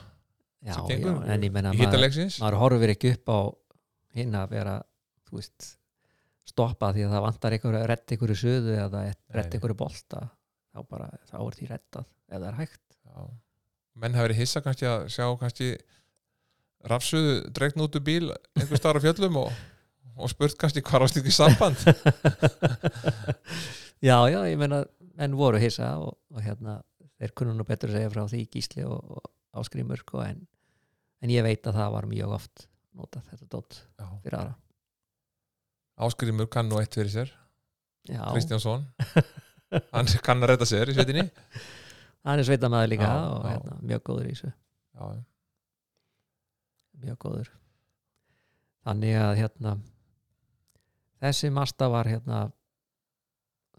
Speaker 2: já,
Speaker 1: sem
Speaker 2: já,
Speaker 1: gengur
Speaker 2: en ég menna
Speaker 1: í
Speaker 2: maður,
Speaker 1: hittalegsins
Speaker 2: maður horfir ekki upp á hinn að vera þú veist, stoppa því að það vantar einhverju að redda einhverju söðu eða
Speaker 1: nei.
Speaker 2: redda einhverju bolta þá bara, þá er því reddað ef það er hægt,
Speaker 1: Já. menn hafa verið hissa kannski að sjá kannski rafsuðu dregn út úr bíl einhver starf á fjöllum og, og spurt kannski hvað rást ekki samband
Speaker 2: <laughs> já, já, ég menna menn voru hissa og, og hérna þeir kunnu nú betur að segja frá því gísli og, og áskrimur sko en, en ég veit að það var mjög oft notað þetta dótt
Speaker 1: Já.
Speaker 2: fyrir aðra
Speaker 1: Áskrimur kann nú eitt fyrir sér
Speaker 2: Já, <laughs>
Speaker 1: Kristjánsson hann kann að redda sér í sveitinni
Speaker 2: hann er sveitamæður líka
Speaker 1: Já,
Speaker 2: og
Speaker 1: já.
Speaker 2: Hérna, mjög góður í þessu
Speaker 1: já,
Speaker 2: mjög góður þannig að hérna þessi Mazda var hérna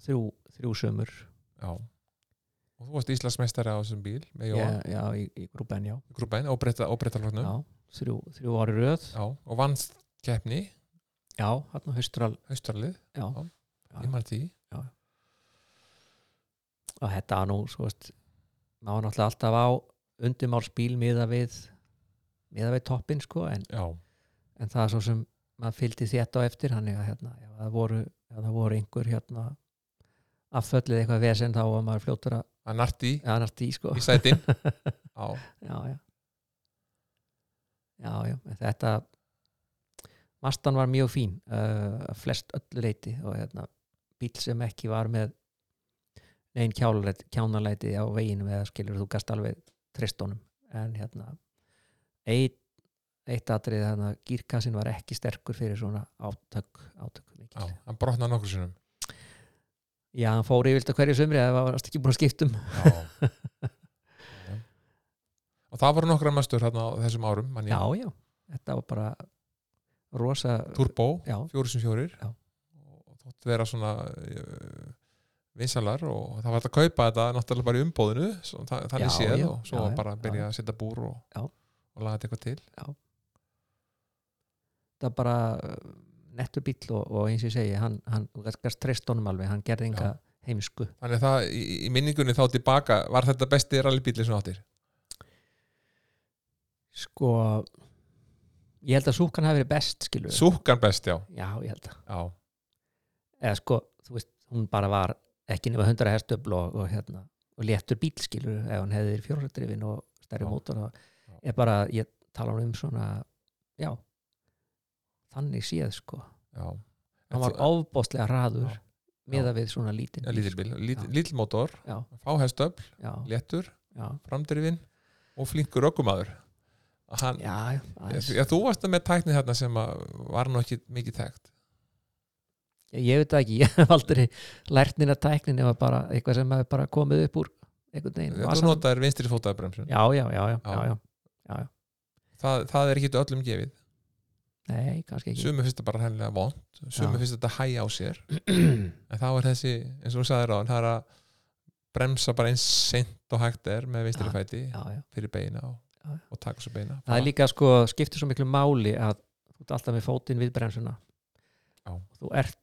Speaker 2: þrjú, þrjú sömur
Speaker 1: já og þú varst Íslandsmeistari á þessum bíl með Jóhann,
Speaker 2: já, já, í, í grúpen, já,
Speaker 1: yeah. grúbæn, óbreytta, óbreytta
Speaker 2: já
Speaker 1: já.
Speaker 2: þrjú, þrjú ári röð
Speaker 1: og vannst keppni,
Speaker 2: já, hann á haustral
Speaker 1: haustralið
Speaker 2: já,
Speaker 1: Já.
Speaker 2: Já.
Speaker 1: ég maður því,
Speaker 2: og þetta var nú svo veist, maður náttúrulega alltaf á undumálsbíl miða við miða við toppin sko en,
Speaker 1: já
Speaker 2: en það er svo sem maður fylgdi þetta á eftir hann eða hérna, ef það voru, ef það voru einhver hérna afföllið eitthvað vesend þá var maður fljótur að
Speaker 1: að narti
Speaker 2: eða nært í sko <laughs>
Speaker 1: í sætin já,
Speaker 2: já, já já, já, en þetta Mastan var mjög fín uh, að flest öllu leiti og hérna, bíl sem ekki var með neinn kjálalæti, kjánalæti á veginum eða skilur þú gast alveg tristónum en hérna eitt, eitt atrið þannig að gírkassin var ekki sterkur fyrir svona átök, átök mikil.
Speaker 1: já, hann brotnaði nokkur sinnum
Speaker 2: já, hann fór yfirlt að hverju sömri eða var varst ekki búin að um. skiptum
Speaker 1: já
Speaker 2: <laughs>
Speaker 1: Já. og það voru nokkra mestur hérna á þessum árum man
Speaker 2: já,
Speaker 1: ég,
Speaker 2: já, þetta var bara rosa
Speaker 1: turbo,
Speaker 2: já,
Speaker 1: fjóri sem fjórir
Speaker 2: Já.
Speaker 1: og þótt vera svona vinsalar og það var hægt að kaupa þetta náttúrulega bara í umbóðinu svo, þa- þannig
Speaker 2: Já,
Speaker 1: séð
Speaker 2: já,
Speaker 1: og svo
Speaker 2: já, já,
Speaker 1: bara að byrja
Speaker 2: já.
Speaker 1: að setja búr og,
Speaker 2: Já.
Speaker 1: og laga þetta eitthvað til
Speaker 2: þetta bara uh, nettur bíll og, og eins og ég segi hann, hann þú gast- gast treyst honum alveg, hann gerði enga heimsku
Speaker 1: þannig að það í, í minningunni þá tilbaka var þetta besti rallybíli sem þú áttir
Speaker 2: sko ég held að súkan hafi verið best skilur
Speaker 1: súkkan best já,
Speaker 2: já ég held að
Speaker 1: já,
Speaker 2: eða sko þú veist hún bara var ekki nema 100 hestöfl og, og hérna og léttur bíl skilur ef hann hefði fjórhaldrifin og stærri
Speaker 1: Já.
Speaker 2: mótor og er bara ég tala um svona já þannig séð sko
Speaker 1: já.
Speaker 2: hann var ofbóðslega hraður
Speaker 1: Já.
Speaker 2: miða við svona lítinn sko.
Speaker 1: lítil bíl, lítil mótor
Speaker 2: já,
Speaker 1: fáhestöfl,
Speaker 2: já,
Speaker 1: léttur,
Speaker 2: já,
Speaker 1: framdrifin og flinkur ökkumadur hann,
Speaker 2: já, aðeins.
Speaker 1: Já, þú varst með tæknið þarna sem að var nú ekki mikið þekkt
Speaker 2: Ég, ég veit það ekki, ég <laughs> hef aldrei lært nýna tæknin eða bara eitthvað sem hefur bara komið upp úr einhvern veginn
Speaker 1: Þú
Speaker 2: vasanum.
Speaker 1: notaðir vinstri fótaðabremsun
Speaker 2: já, já, já, já, já, já,
Speaker 1: það, það er ekki öllum gefið
Speaker 2: nei, kannski ekki
Speaker 1: Sumi finnst þetta bara hennilega vond Sumi
Speaker 2: Já.
Speaker 1: finnst þetta hæg á sér En þá er þessi, eins og þú sagðir á Það er að bremsa bara eins seint og hægt er með vinstri
Speaker 2: Já.
Speaker 1: fæti
Speaker 2: <clears throat> já, já.
Speaker 1: fyrir beina og,
Speaker 2: Já, já.
Speaker 1: og taka svo beina
Speaker 2: það er líka sko, skiptir svo miklu máli að þú ert alltaf með fótinn við bremsuna
Speaker 1: Já.
Speaker 2: og þú ert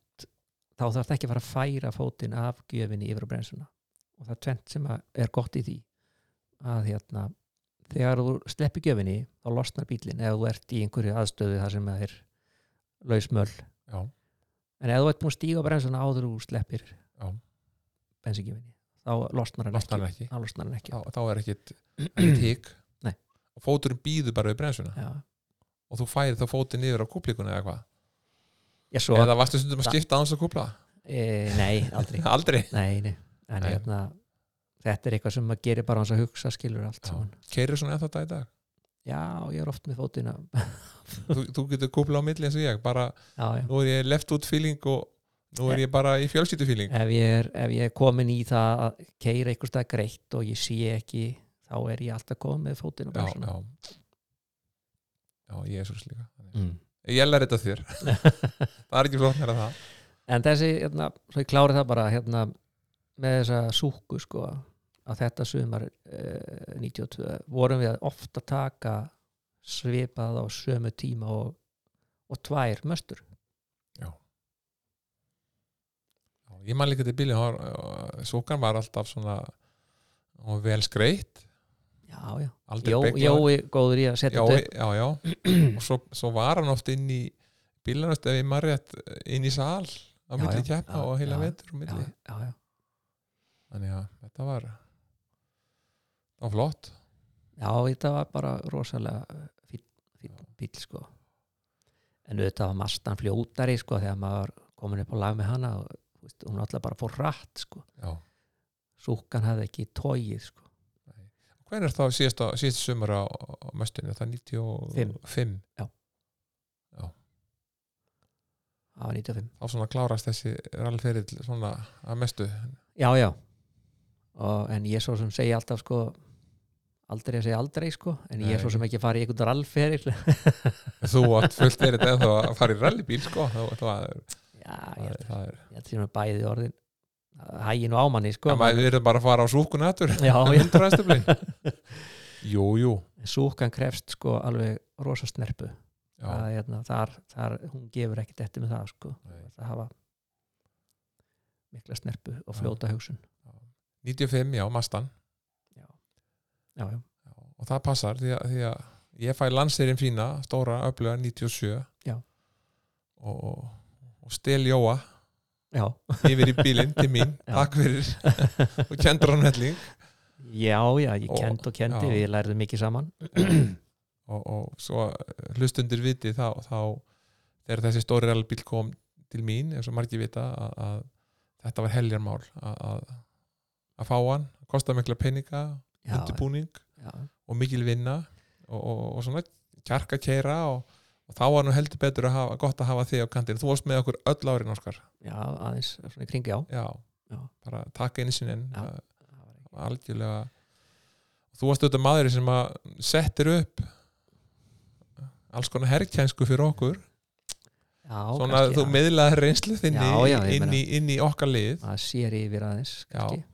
Speaker 2: þá þarf ekki að fara að færa fótinn af gjöfinni yfir á bremsuna og það er tvent sem að- er gott í því að hérna þegar þú sleppi gjöfinni þá losnar bílinn ef þú ert í einhverju aðstöðu þar sem það er lausmöll
Speaker 1: Já,
Speaker 2: en ef þú ert búin að stíga á bremsuna áður og þú sleppir
Speaker 1: Já.
Speaker 2: bensingjöfinni þá losnar hann
Speaker 1: losnar hann
Speaker 2: ekki,
Speaker 1: ekki
Speaker 2: Þá losnar
Speaker 1: <clears throat>
Speaker 2: hann ekki.
Speaker 1: Þá, þá er ekkit, ekkit hík
Speaker 2: <clears throat> Nei.
Speaker 1: Og fóturinn býður bara við bremsuna
Speaker 2: Já.
Speaker 1: Og þú færi þá fótinn yfir á kúplíkuna eða hvað
Speaker 2: Ég svo,
Speaker 1: Eða varstu stundum að
Speaker 2: Það-
Speaker 1: skipta áns að kúpla
Speaker 2: e, nei, aldrei
Speaker 1: <laughs> Aldrei
Speaker 2: nei, nei. En,
Speaker 1: Nei.
Speaker 2: hérna, þetta er eitthvað sem maður gerir bara hans að hugsa skilur allt
Speaker 1: Já.
Speaker 2: saman
Speaker 1: Keirir svona ennþá þetta í dag
Speaker 2: já, ég er oft með fótina
Speaker 1: þú, þú getur kúpla á milli eins og ég bara,
Speaker 2: já, já.
Speaker 1: nú er ég left out feeling og nú er ég bara í fjölskyldu feeling
Speaker 2: Ef, ég er, ef ég er komin í það að keira einhvers stað greitt og ég sé ekki þá er ég alltaf komin með fótina á
Speaker 1: já,
Speaker 2: bremsuna
Speaker 1: já já, ég er svo slíka
Speaker 2: Mm.
Speaker 1: ég lær þetta
Speaker 2: <laughs>
Speaker 1: þér, það er ekki flóknar að það
Speaker 2: en þessi, hérna, svo ég klári það bara hérna, með þessa súku sko, að þetta sumar eh, 92 vorum við ofta taka svipað á sömu tíma og, og tvær möstur
Speaker 1: já, ég man líka til bílinn hún var- sókan var alltaf svona og vel skreitt
Speaker 2: já, já,
Speaker 1: aldrei
Speaker 2: Jó,
Speaker 1: beyglaður.
Speaker 2: Jói góður í að setja
Speaker 1: já,
Speaker 2: þetta
Speaker 1: já, já. og svo, svo var hann oft inn í bílarnast ef ég maður rétt inn í sal á
Speaker 2: Já,
Speaker 1: milli
Speaker 2: já,
Speaker 1: keppna
Speaker 2: já,
Speaker 1: og heila
Speaker 2: já,
Speaker 1: vetur á
Speaker 2: upp já,
Speaker 1: milli
Speaker 2: já, já.
Speaker 1: þannig að þetta var það var flott
Speaker 2: já, þetta var bara rosalega fín, fín bíl sko en auðvitað var mastan fljótari sko þegar maður komin upp á lag með hana og þú veist, hún alltaf bara fór rætt sko
Speaker 1: já
Speaker 2: súkkan hafði ekki tóið sko.
Speaker 1: Hvernig er það síðasta, síðasta sumar á, á möstunni? Er Það er 95
Speaker 2: Já. það var 95
Speaker 1: Þá svona klárast þessi rallferill svona að mestu
Speaker 2: já já og, en ég svo sem segi alltaf sko aldrei að segja aldrei sko en ég
Speaker 1: Nei.
Speaker 2: svo sem ekki fara í einhvern rallferil <laughs> já,
Speaker 1: Þú átt fullt verið ennþá að fara í rallybíl sko. það, það, er,
Speaker 2: ég
Speaker 1: það,
Speaker 2: held
Speaker 1: er, það er
Speaker 2: ég held sem að bæði orðin hæginu á manni sko
Speaker 1: en maður verður bara að fara á súkun aðtur
Speaker 2: já, já.
Speaker 1: undir aðstöflin jú, jú
Speaker 2: súkan krefst sko alveg rosa snerpu
Speaker 1: já,
Speaker 2: það, hérna, þar, þar, hún gefur ekkert eftir með það sko
Speaker 1: Nei.
Speaker 2: það hafa mikla snerpu og
Speaker 1: Já.
Speaker 2: fljóta hugsun
Speaker 1: 95, já, Mastan
Speaker 2: já, já,
Speaker 1: Já, og það passar því að, því að ég fæ landsleirin fína, stóra öfluga 97
Speaker 2: Já.
Speaker 1: og, og, og stel Jóa
Speaker 2: já
Speaker 1: yfir í bílinn til mín,
Speaker 2: <laughs> Já.
Speaker 1: takk fyrir og kendur hann helling
Speaker 2: já, já, ég
Speaker 1: Og-
Speaker 2: kend og kendi,
Speaker 1: já.
Speaker 2: við lærðum mikið saman
Speaker 1: og, og svo hlustundir viti þá, þá þegar þessi stóri rallbíl kom til mín, eins og margir vita að, að þetta var heljarmál að, að, að fá hann, kosta mikla peninga,
Speaker 2: já,
Speaker 1: undirbúning
Speaker 2: já,
Speaker 1: og mikil vinna og, og, og svona kjarka keira og, og þá var nú heldur betur að hafa, gott að hafa þig á kantinu, þú varst með okkur öll árin Óskar,
Speaker 2: já, aðeins svona í kring, já,
Speaker 1: já,
Speaker 2: Já.
Speaker 1: bara taka einu sinni en
Speaker 2: Já.
Speaker 1: uh,
Speaker 2: það var ekki-
Speaker 1: algjörlega þú varst auðvitað maður sem að settir upp alls konar herrkjænsku fyrir okkur
Speaker 2: já,
Speaker 1: svona að
Speaker 2: kannski,
Speaker 1: þú
Speaker 2: já.
Speaker 1: miðlaði reynslu þinni
Speaker 2: Já, já, ég
Speaker 1: inn, í, inn í okkar lið
Speaker 2: að sér yfir aðeins kannski.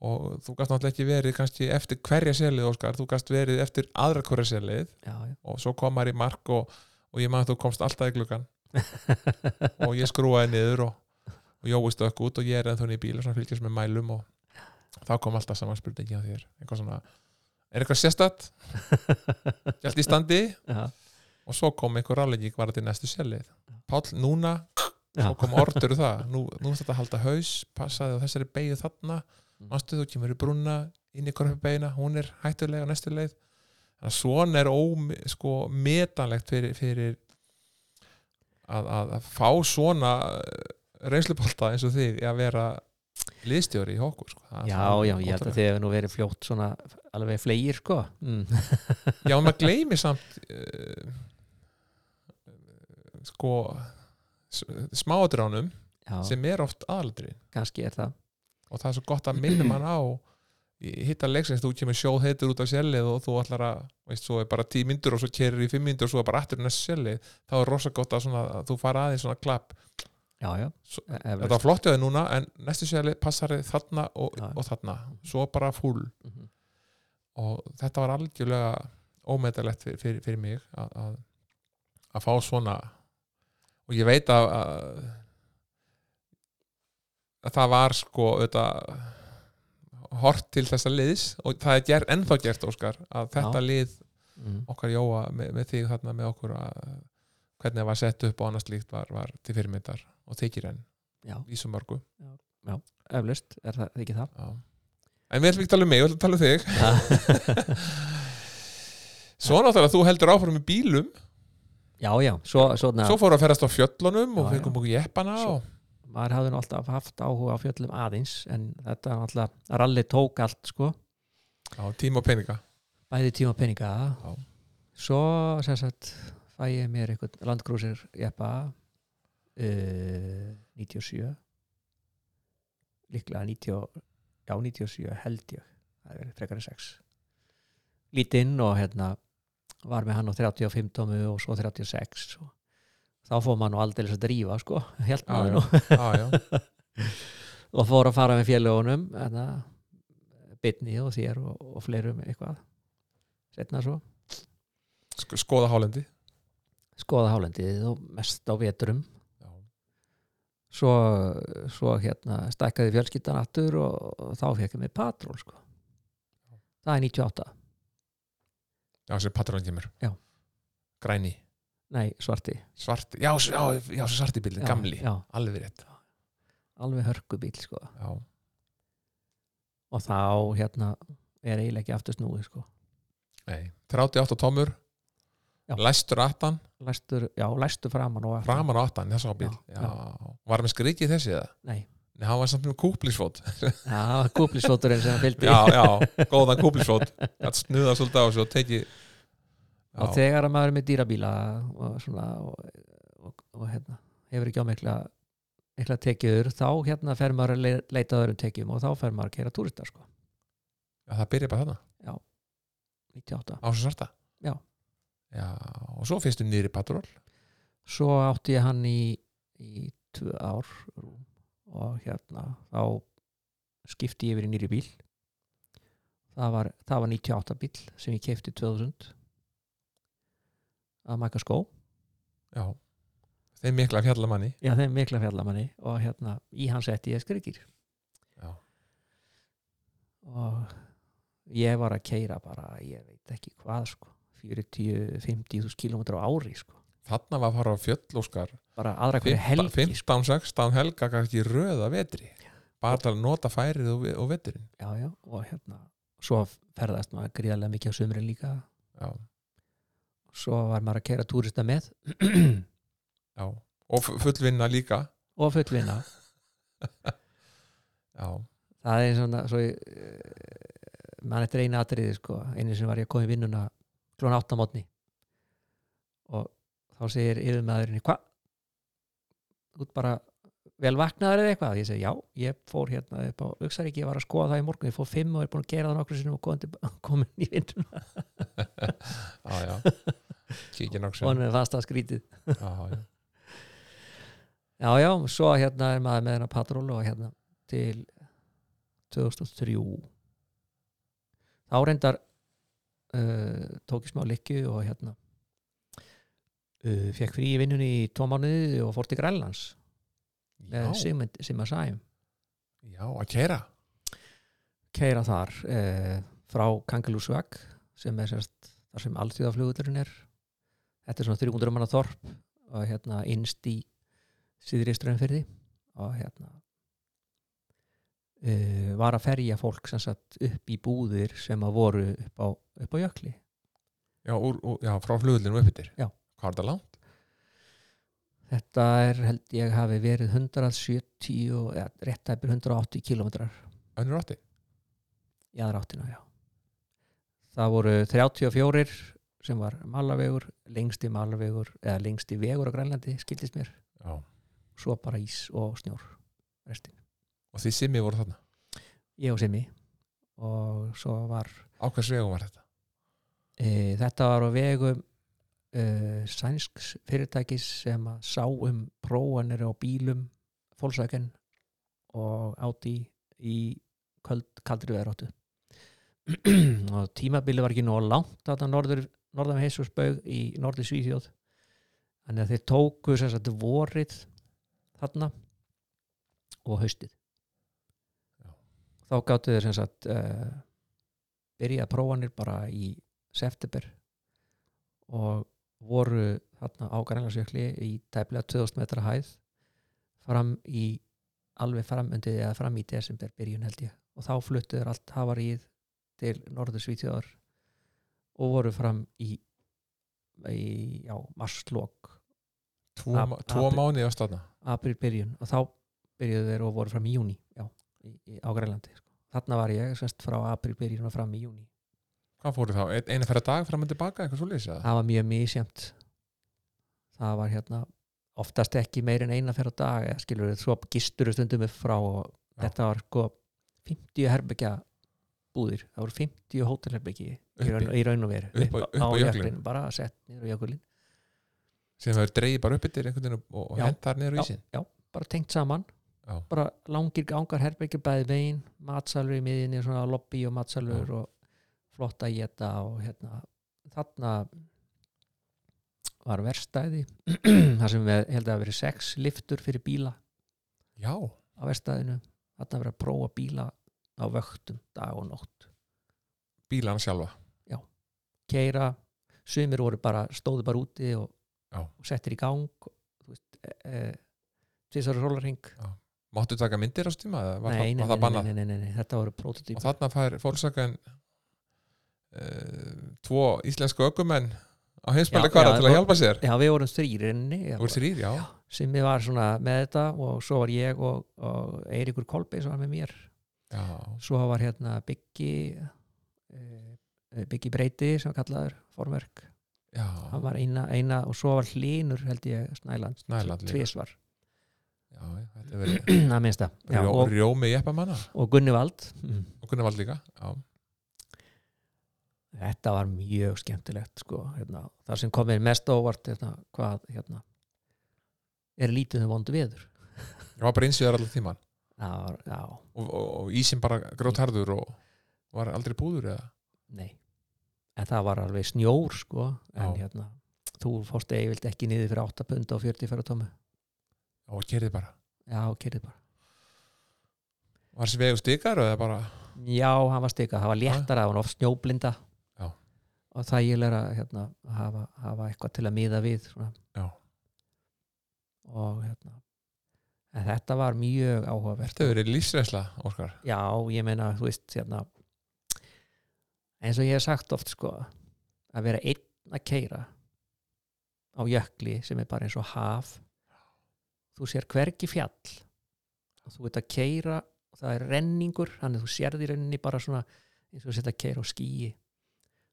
Speaker 1: og þú gast náttúrulega ekki verið kannski eftir hverja selið Óskar, þú gast verið eftir aðra hverja selið
Speaker 2: já, já,
Speaker 1: og svo kom maður í mark og, og ég maður þú komst alltaf í gluggan og ég skrúaði niður og, og jói stökk út og ég er ennþá í bíl og svona fylgjast með mælum og þá kom alltaf saman spurningi á þér eitthvað svona, er eitthvað sérstætt? Hjalt í standi
Speaker 2: já,
Speaker 1: og svo kom einhver rálegging var til næstu selið Páll, núna,
Speaker 2: já,
Speaker 1: svo kom orður það nú, nú er þetta að halda haus, passaði á þessari beigju þarna,
Speaker 2: Mm.
Speaker 1: mástu þú kemur í brúna inn í korfbeigina, hún er hættuleg á næstu leið þannig að svona er óm, sko, metanlegt fyrir, fyrir að, að, að fá svona reynslupolta eins og þig að vera liðstjóri í okkur sko. Það-
Speaker 2: já,
Speaker 1: það er
Speaker 2: já, ég held
Speaker 1: ótrúlegt.
Speaker 2: að þið hefur nú verið fljótt svona alveg fleir sko mm.
Speaker 1: Já, en maður gleymir samt uh, sko s- smáadránum
Speaker 2: já,
Speaker 1: sem er oft aðaldri
Speaker 2: kannski er það
Speaker 1: og það er svo gott að minna mann á í- hitta leiksins, þú kemur sjóð heitur út af sjælið og þú ætlar að, veist, svo er bara tíu myndur og svo kerir í fimm myndur og svo er bara aftur í næst sjælið, þá er rosa gott að, svona, að þú fara aðeins svona klapp
Speaker 2: já, já, E-
Speaker 1: Svo-
Speaker 2: eflaust.
Speaker 1: þetta var flott hjá þér núna, en næstu sjælið passar þig þarna og,
Speaker 2: Já.
Speaker 1: og þarna svo bara fúl
Speaker 2: Mhm.
Speaker 1: og þetta var algjörlega ómetalegt fyrir, fyrir, fyrir mig að, að, að fá svona og ég veit að, að, að það var sko auðvitað hort til þessa liðs og það er ger, ennþá gert Óskar að þetta lið
Speaker 2: Mm.
Speaker 1: okkar Jóa með, með þig þarna með okkur að hvernig það var sett upp og annars líkt var, var til fyrirmyndar og þykir enn
Speaker 2: já,
Speaker 1: í svo mörgu
Speaker 2: eflust, er það ekki það
Speaker 1: Já. En við ætlum ekki að tala um mig, við ætlum að tala um þig Svo náttúrulega þú heldur áfram í bílum
Speaker 2: já, já, svo, svona
Speaker 1: Svo fóru að ferast á fjöllunum og
Speaker 2: Já,
Speaker 1: fengum okkur jeppana
Speaker 2: Svo-
Speaker 1: og,
Speaker 2: maður hafði nú alltaf haft áhuga á fjöllum aðeins en þetta var alltaf, rally tók allt sko,
Speaker 1: á, tíma og peninga
Speaker 2: bæði tíma og peninga
Speaker 1: Já.
Speaker 2: svo sem sagt fæ ég mér einhvern landgrúsir jeppa uh, 97 líklega 90 já 97 held ég það er verið frekar en 6 lítinn og hérna var með hann á 35 tómu og svo 36 og þá fór maður nú aldrei að drífa sko, <laughs> held
Speaker 1: Já,
Speaker 2: maður nú
Speaker 1: já, já,
Speaker 2: og fór að fara með félögunum hérna, bitni og þér og, og fleirum eitthvað setna svo,
Speaker 1: Sk- Sko, Skoða hálendi
Speaker 2: skoða hálendið og mest á vetrum
Speaker 1: já.
Speaker 2: svo, svo hérna stækkaði fjölskyldan aftur og, og þá fekkum við patról sko. það er 98,
Speaker 1: já, sem patrón kemur
Speaker 2: Já.
Speaker 1: Græni,
Speaker 2: nei svarti
Speaker 1: svart Já, s- já, já sem svart í bílinn,
Speaker 2: Já,
Speaker 1: gamli
Speaker 2: já,
Speaker 1: Alveg rétt
Speaker 2: alveg hörkubíl sko.
Speaker 1: já.
Speaker 2: og þá hérna er eiginlega ekki aftur snúið sko.
Speaker 1: Nei. 38 tómur
Speaker 2: Já.
Speaker 1: Læstur aftan,
Speaker 2: læstur, já, læstu framan og aftur
Speaker 1: framan á aftan Þess á bíl,
Speaker 2: Já,
Speaker 1: já, Var með skrikið þessi eða?
Speaker 2: nei,
Speaker 1: Nei, hann var samt með kúplisfót
Speaker 2: <laughs> það var kúplisvoturinn sem fylgdi
Speaker 1: já, já, góðan kúplisfót að snuða svolítið á þessu og teki
Speaker 2: og
Speaker 1: já,
Speaker 2: þegar að maður er með dýrabíla og svona og, og, og hérna, hefur ekki á mikla mikla tekiður, þá hérna fer maður að le- leita að öðrum tekjum og þá fer maður að keira túrista sko,
Speaker 1: já, það byrja bara þarna
Speaker 2: 98
Speaker 1: á þessu svarta
Speaker 2: Já.
Speaker 1: já og svo um fyrstu niður í patról
Speaker 2: svo átti ég hann í, í tvö ár rúm, og hérna þá skipti ég yfir í nýri bíl það var, það var 98 bíl sem ég kefti 2000 að maka skó
Speaker 1: já þeim mikla fjallamanni
Speaker 2: já þeim mikla fjallamanni og hérna í hans etti ég skrikir
Speaker 1: já.
Speaker 2: og ég var að keira bara ég veit ekki hvað sko 40-50.000 km á ári sko
Speaker 1: þarna var að fara á fjöllóskar
Speaker 2: bara aðra hverju helgi sko.
Speaker 1: 15-16 helga kannski röða vetri bara til að nota færið og, ve- og veturinn
Speaker 2: já, já, og hérna svo ferðast maður gríðarlega mikið á sömurinn líka
Speaker 1: já,
Speaker 2: svo var maður að keira túrista með
Speaker 1: já. og fu- fullvinna líka
Speaker 2: og fullvinna
Speaker 1: já,
Speaker 2: það er svona svo ég, eh, mann eftir eina atriði sko einu sem var ég að koma í vinnuna klón átta mótni og þá segir yfirmaðurinn hva? út bara vel vaknaður eða eitthvað ég segi já, ég fór hérna upp á Uxarík ég var að skoða það í morgun, ég fór fimm og er búin að gera það nokkru sinum og komin, til- komin í <laughs> vinnuna
Speaker 1: já,
Speaker 2: <laughs>
Speaker 1: já. kíkja
Speaker 2: og
Speaker 1: náksum
Speaker 2: hann er fast að skrítið
Speaker 1: já, já.
Speaker 2: já, já, svo hérna er maður með hennar patról og hérna til 2003 þá reyndar uh, tók ég smá likju og hérna uh, fekk frí í vinnunni í tvo mánuði og fór til Grænlands með
Speaker 1: já,
Speaker 2: Sigmund sem að sæm
Speaker 1: já, að kæra
Speaker 2: keira þar uh, frá Kangalúsveg sem er sérst þar sem alltíðaflugurinn er þetta er svona 300 manna þorp og hérna innst í síðri strömmfyrði og hérna uh, var að ferja fólk sem satt upp í búðir sem að voru upp á, upp á jökli
Speaker 1: já, úr, úr, já frá flugulinu upp yfir
Speaker 2: Já.
Speaker 1: hvað er það langt?
Speaker 2: þetta er held ég hafi verið 170 eða rétt að 180 kilometrar
Speaker 1: önnur átti?
Speaker 2: í aðra áttina, já það voru 34 sem var malavegur, lengsti malavegur eða lengsti vegur á Grænlandi, skildist mér
Speaker 1: já,
Speaker 2: svo bara ís og snjór restin,
Speaker 1: og því simmi voru þarna
Speaker 2: ég og Simmi og svo var
Speaker 1: á hvers vegum var þetta?
Speaker 2: e, þetta var á vegum e, sænsks fyrirtækis sem að sá um prófanir á bílum fólksæken og átti í köld, kaldri veðráttu <clears throat> og tímabilið var ekki nóg langt þetta norður, norðan heisursbaug í norður Svíþjóð þannig að þeir tóku sem sagt vorið þarna og haustið
Speaker 1: Já.
Speaker 2: þá gáttu þeir sem sagt uh, byrjað prófanir bara í september og voru þarna á Grænlandsjökli í tæplega 2000 metra hæð fram í alveg fram undir eða fram í desember byrjun held ég og þá fluttu þeir allt hafaríð til norður Svíþjóðar og voru fram í, í já, marslok
Speaker 1: tvo,
Speaker 2: Ap-
Speaker 1: ma- tvo
Speaker 2: apríl.
Speaker 1: mánuði varst þarna
Speaker 2: april byrjun og þá byrjuðu þeir og voru fram í júni já, í, í, á Grænlandi sko. þarna var ég semst frá april byrjun og fram í júni
Speaker 1: hvað fóru þá? Ein- eina ferða dag fram og tilbaka eitthvað svo lýsa?
Speaker 2: það var mjög misjæmt það var hérna oftast ekki meir en eina ferð á dag eða skilur við, svo gistur stundum upp frá og
Speaker 1: Já.
Speaker 2: þetta var sko 50 herbyggja búðir, það voru 50 hótelherbyggji í
Speaker 1: Uppi.
Speaker 2: raun, í raun og veru
Speaker 1: Upp á- upp á jöklinum.
Speaker 2: jöklinum, bara sett niður á jökulinn
Speaker 1: sem það er dreigið bara upp yfir einhvern veginn og, og
Speaker 2: Já.
Speaker 1: hent þar niður í
Speaker 2: Já.
Speaker 1: ísinn
Speaker 2: bara tengt saman,
Speaker 1: Já.
Speaker 2: bara langir gangar herbyggja bæði veginn, matsalur í miðinni svona lobby og matsalur og flott að geta og hérna þarna var verstæði <clears throat> þar sem við held að hafa verið sex liftur fyrir bíla
Speaker 1: já,
Speaker 2: á verstæðinu þarna verið að prófa bíla á vöktum dag og nótt,
Speaker 1: bílana sjálfa
Speaker 2: keira sumir voru bara, stóðu bara úti og,
Speaker 1: Já.
Speaker 2: og settir í gang og, þú veist, e, e, tvisar rólarhing
Speaker 1: máttu taka myndir á stíma? eða var það,
Speaker 2: nei, nei,
Speaker 1: var
Speaker 2: nei,
Speaker 1: það
Speaker 2: nei,
Speaker 1: bannað?
Speaker 2: nei, nei, nei, nei, þetta voru prototýp
Speaker 1: og þarna fær fólksakan uh, tvo íslensku ökumenn á heimspæli
Speaker 2: Já, já,
Speaker 1: til að
Speaker 2: og-
Speaker 1: hjálpa sér
Speaker 2: Já, við vorum þrýrinni
Speaker 1: úr þrýr, já,
Speaker 2: sem við var svona með þetta og svo var ég og, og Eiríkur Kolbeins var með mér
Speaker 1: já.
Speaker 2: svo var hérna Byggi eh, Byggi Breiti sem var kallaður formverk,
Speaker 1: já.
Speaker 2: hann var eina, eina og svo var Hlynur held ég Snæland,
Speaker 1: Snæland líka.
Speaker 2: tvisvar
Speaker 1: já þetta verið
Speaker 2: að minnsta, <clears throat> já,
Speaker 1: Rjó,
Speaker 2: og,
Speaker 1: rjómi jeppamanna
Speaker 2: og Gunnivald mm.
Speaker 1: og kunna vald líka já,
Speaker 2: þetta var mjög skemmtilegt sko, hérna, það sem kom mér mest á óvart hérna, hvað hérna er lítið um vondu veður
Speaker 1: ég var bara einsýðar allan tíman
Speaker 2: það var, já,
Speaker 1: og, og, og ísinn bara grátt harður og var aldrei búður eða
Speaker 2: nei en það var alveg snjór sko en
Speaker 1: Já.
Speaker 2: hérna, þú fórst eigild ekki niður fyrir 8 pund og 40 fyrir tómi
Speaker 1: og kerði bara
Speaker 2: já, kerið bara
Speaker 1: var þessi vegu stikar eða bara
Speaker 2: já, hann var stikað, það var léttara, það var oft snjóblinda
Speaker 1: Já.
Speaker 2: og þægilega hérna, að hafa, hafa eitthvað til að miða við svona.
Speaker 1: Já.
Speaker 2: og hérna en þetta var mjög áhugavert
Speaker 1: þetta hefur verið lífsreynsla Óskar
Speaker 2: Já, ég meina, þú veist, hérna eins og ég hef sagt oft sko, að vera einn að keira á jökli sem er bara eins og haf þú sér hvergi fjall og þú veit að keira og það er renningur, þannig að þú sérð í renninni bara svona eins og setja að keira á skýi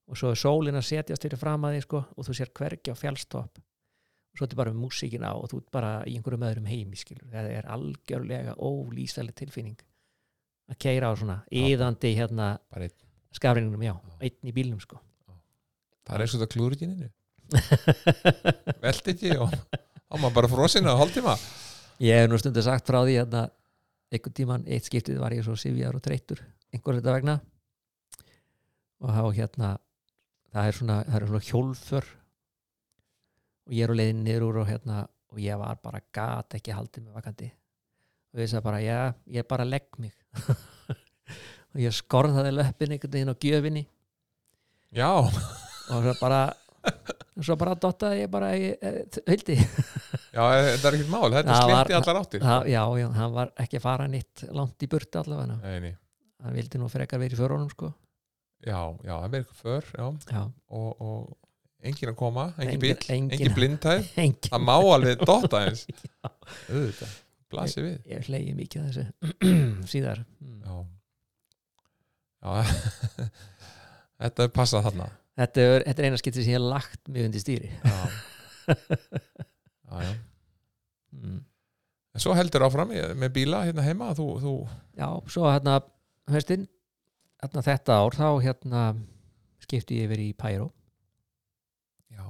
Speaker 2: og svo er sólin að setjast fyrir fram að því sko, og þú sér hvergi á fjallstopp og svo er þetta bara með músíkina og þú ert bara í einhverjum öðrum heimi skilur það er algjörlega ólýsaleg tilfinning að keira á svona yðandi hérna
Speaker 1: bara einn
Speaker 2: skafringnum, já,
Speaker 1: Já.
Speaker 2: einn í bílnum sko
Speaker 1: það er eins og það klúður ekki nynnu
Speaker 2: <laughs>
Speaker 1: velt ekki og á maður bara frósinn á hálftíma
Speaker 2: ég hef nú stundu sagt frá því hérna einhvern tíman, eitt skiptið var ég svo sifjar og treytur einhver þetta vegna og þá hérna það er svona, það er svona hjólför og ég er á leiðin niður úr og hérna og ég var bara gat ekki haldið mig vakandi og ég sagði bara, já, ég bara legg mig <laughs> og ég skorðaði löppin einhvern veginn á gjöfinni
Speaker 1: já
Speaker 2: og svo bara svo bara dottaði ég bara í- eh, hildi,
Speaker 1: já þetta er ekkert mál þetta
Speaker 2: Það var-
Speaker 1: slétti allar áttir
Speaker 2: já, já, já, hann var ekki að fara nýtt langt í burtu allavega
Speaker 1: Nei, nei.
Speaker 2: hann vildi nú frekar verið í förunum sko
Speaker 1: já já það er eitthvað för já
Speaker 2: já,
Speaker 1: og, og engin að koma, engin
Speaker 2: Engin-
Speaker 1: bíl,
Speaker 2: engin-
Speaker 1: engin blindhæð
Speaker 2: <laughs> engin,
Speaker 1: það má alveg dotta eins
Speaker 2: <laughs>
Speaker 1: auðvitað, blasi við
Speaker 2: ég hlegi mikið að þessu <clears throat> síðar Mm.
Speaker 1: já, já <laughs> þetta er passað þarna
Speaker 2: þetta er, þetta er eina skipti sem ég hef lagt mig undir stýri <laughs>
Speaker 1: já. Já, já.
Speaker 2: mm.
Speaker 1: en svo heldur áfram í- með bíla hérna heima þú, þú,
Speaker 2: já, svo hérna höstin, hérna þetta ár þá hérna skipti ég verið í Pyro
Speaker 1: já,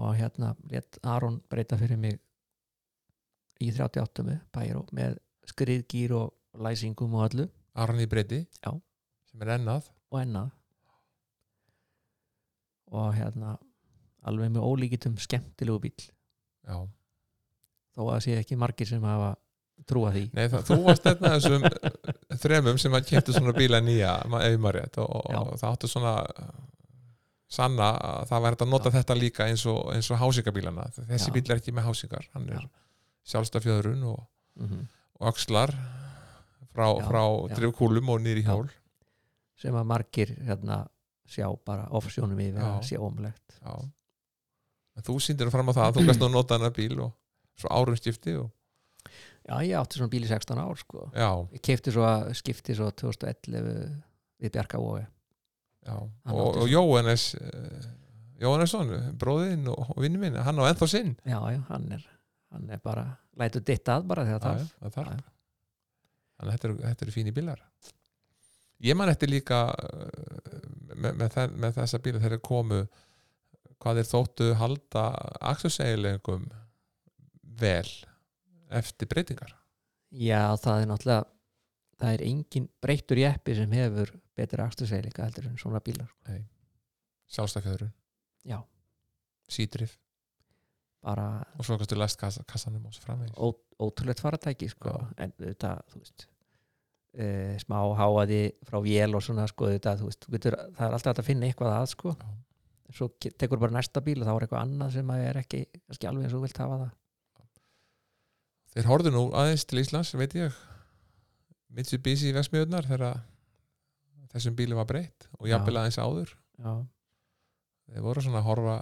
Speaker 2: og hérna let Aron breyta fyrir mig í 38 með Pyro með skriðgýr og læsingum og öllu
Speaker 1: Aron í breyti
Speaker 2: Já.
Speaker 1: sem er ennað
Speaker 2: og ennað og hérna alveg með ólíkitum skemmtilegu bíl
Speaker 1: já.
Speaker 2: þó að það sé ekki margir sem hafa trúa því
Speaker 1: Nei, það, þú varst hérna þessum eh, þremum sem að kemta svona bíla nýja ma- ef maður rétt og, og,
Speaker 2: Já.
Speaker 1: og það áttu svona eh, sanna að það var hægt að nota þetta líka eins og, eins og hásingabílana þessi
Speaker 2: Já.
Speaker 1: bíl er ekki með hásingar hann er
Speaker 2: Já.
Speaker 1: sjálfstafjöðrun og,
Speaker 2: mm
Speaker 1: og axlar frá,
Speaker 2: Já,
Speaker 1: frá
Speaker 2: já.
Speaker 1: drifkúlum og nýri
Speaker 2: Já.
Speaker 1: hjól
Speaker 2: sem að margir hérna sjá bara ofsjónum yfir
Speaker 1: Já.
Speaker 2: að sé ómlegt
Speaker 1: Já. En þú sýndir nú fram á það að þú gæst nú að nota hennar bíl og svo árum skipti og,
Speaker 2: já ég átti svona bíl í 16 ár sko
Speaker 1: já,
Speaker 2: ég keipti svo að skipti svo 2011 við Bjarka Ói
Speaker 1: já.
Speaker 2: Hann
Speaker 1: og,
Speaker 2: átti
Speaker 1: og
Speaker 2: svo.
Speaker 1: Jóhannes eh, Jóhannesson, bróðinn og, og vinnu minn hann á ennþá sinn
Speaker 2: já já hann er, hann er bara lætur ditt að bara þegar
Speaker 1: Já, já,
Speaker 2: það
Speaker 1: það þarf
Speaker 2: Já, já.
Speaker 1: þannig að þetta eru, þetta eru fínir bílar ég man eftir líka eh, með, með, þær, með þessa bíla þegar þeir komu hvað þeir þóttu halda aksursegjulegum vel eftir breytingar
Speaker 2: Já, það er náttúrulega það er engin breyttur jeppi sem hefur betur aksturseilinga heldur en svona bílar
Speaker 1: sjálfstafjöðrun,
Speaker 2: Já,
Speaker 1: sídrif
Speaker 2: bara
Speaker 1: og svo kannstu læst kassa, kassanum og svo framvegis
Speaker 2: ó, ótrúlegt faratæki sko.
Speaker 1: Já.
Speaker 2: en þetta, þú veist uh, smá háaði frá vél og svona sko, þetta, þú veist, þú getur, það er alltaf hægt að finna eitthvað að sko.
Speaker 1: Já.
Speaker 2: En svo ke- tekur bara næsta bíl og þá er eitthvað annað sem að er ekki, kannski alveg eins og þú vilt hafa það
Speaker 1: þeir horfðu nú aðeins til Íslands, veit ég Mitsubishi í Vestmiðunar þegar þessum bílu var breytt og
Speaker 2: Já.
Speaker 1: jafnvel aðeins áður
Speaker 2: Já,
Speaker 1: þeir voru svona að horfa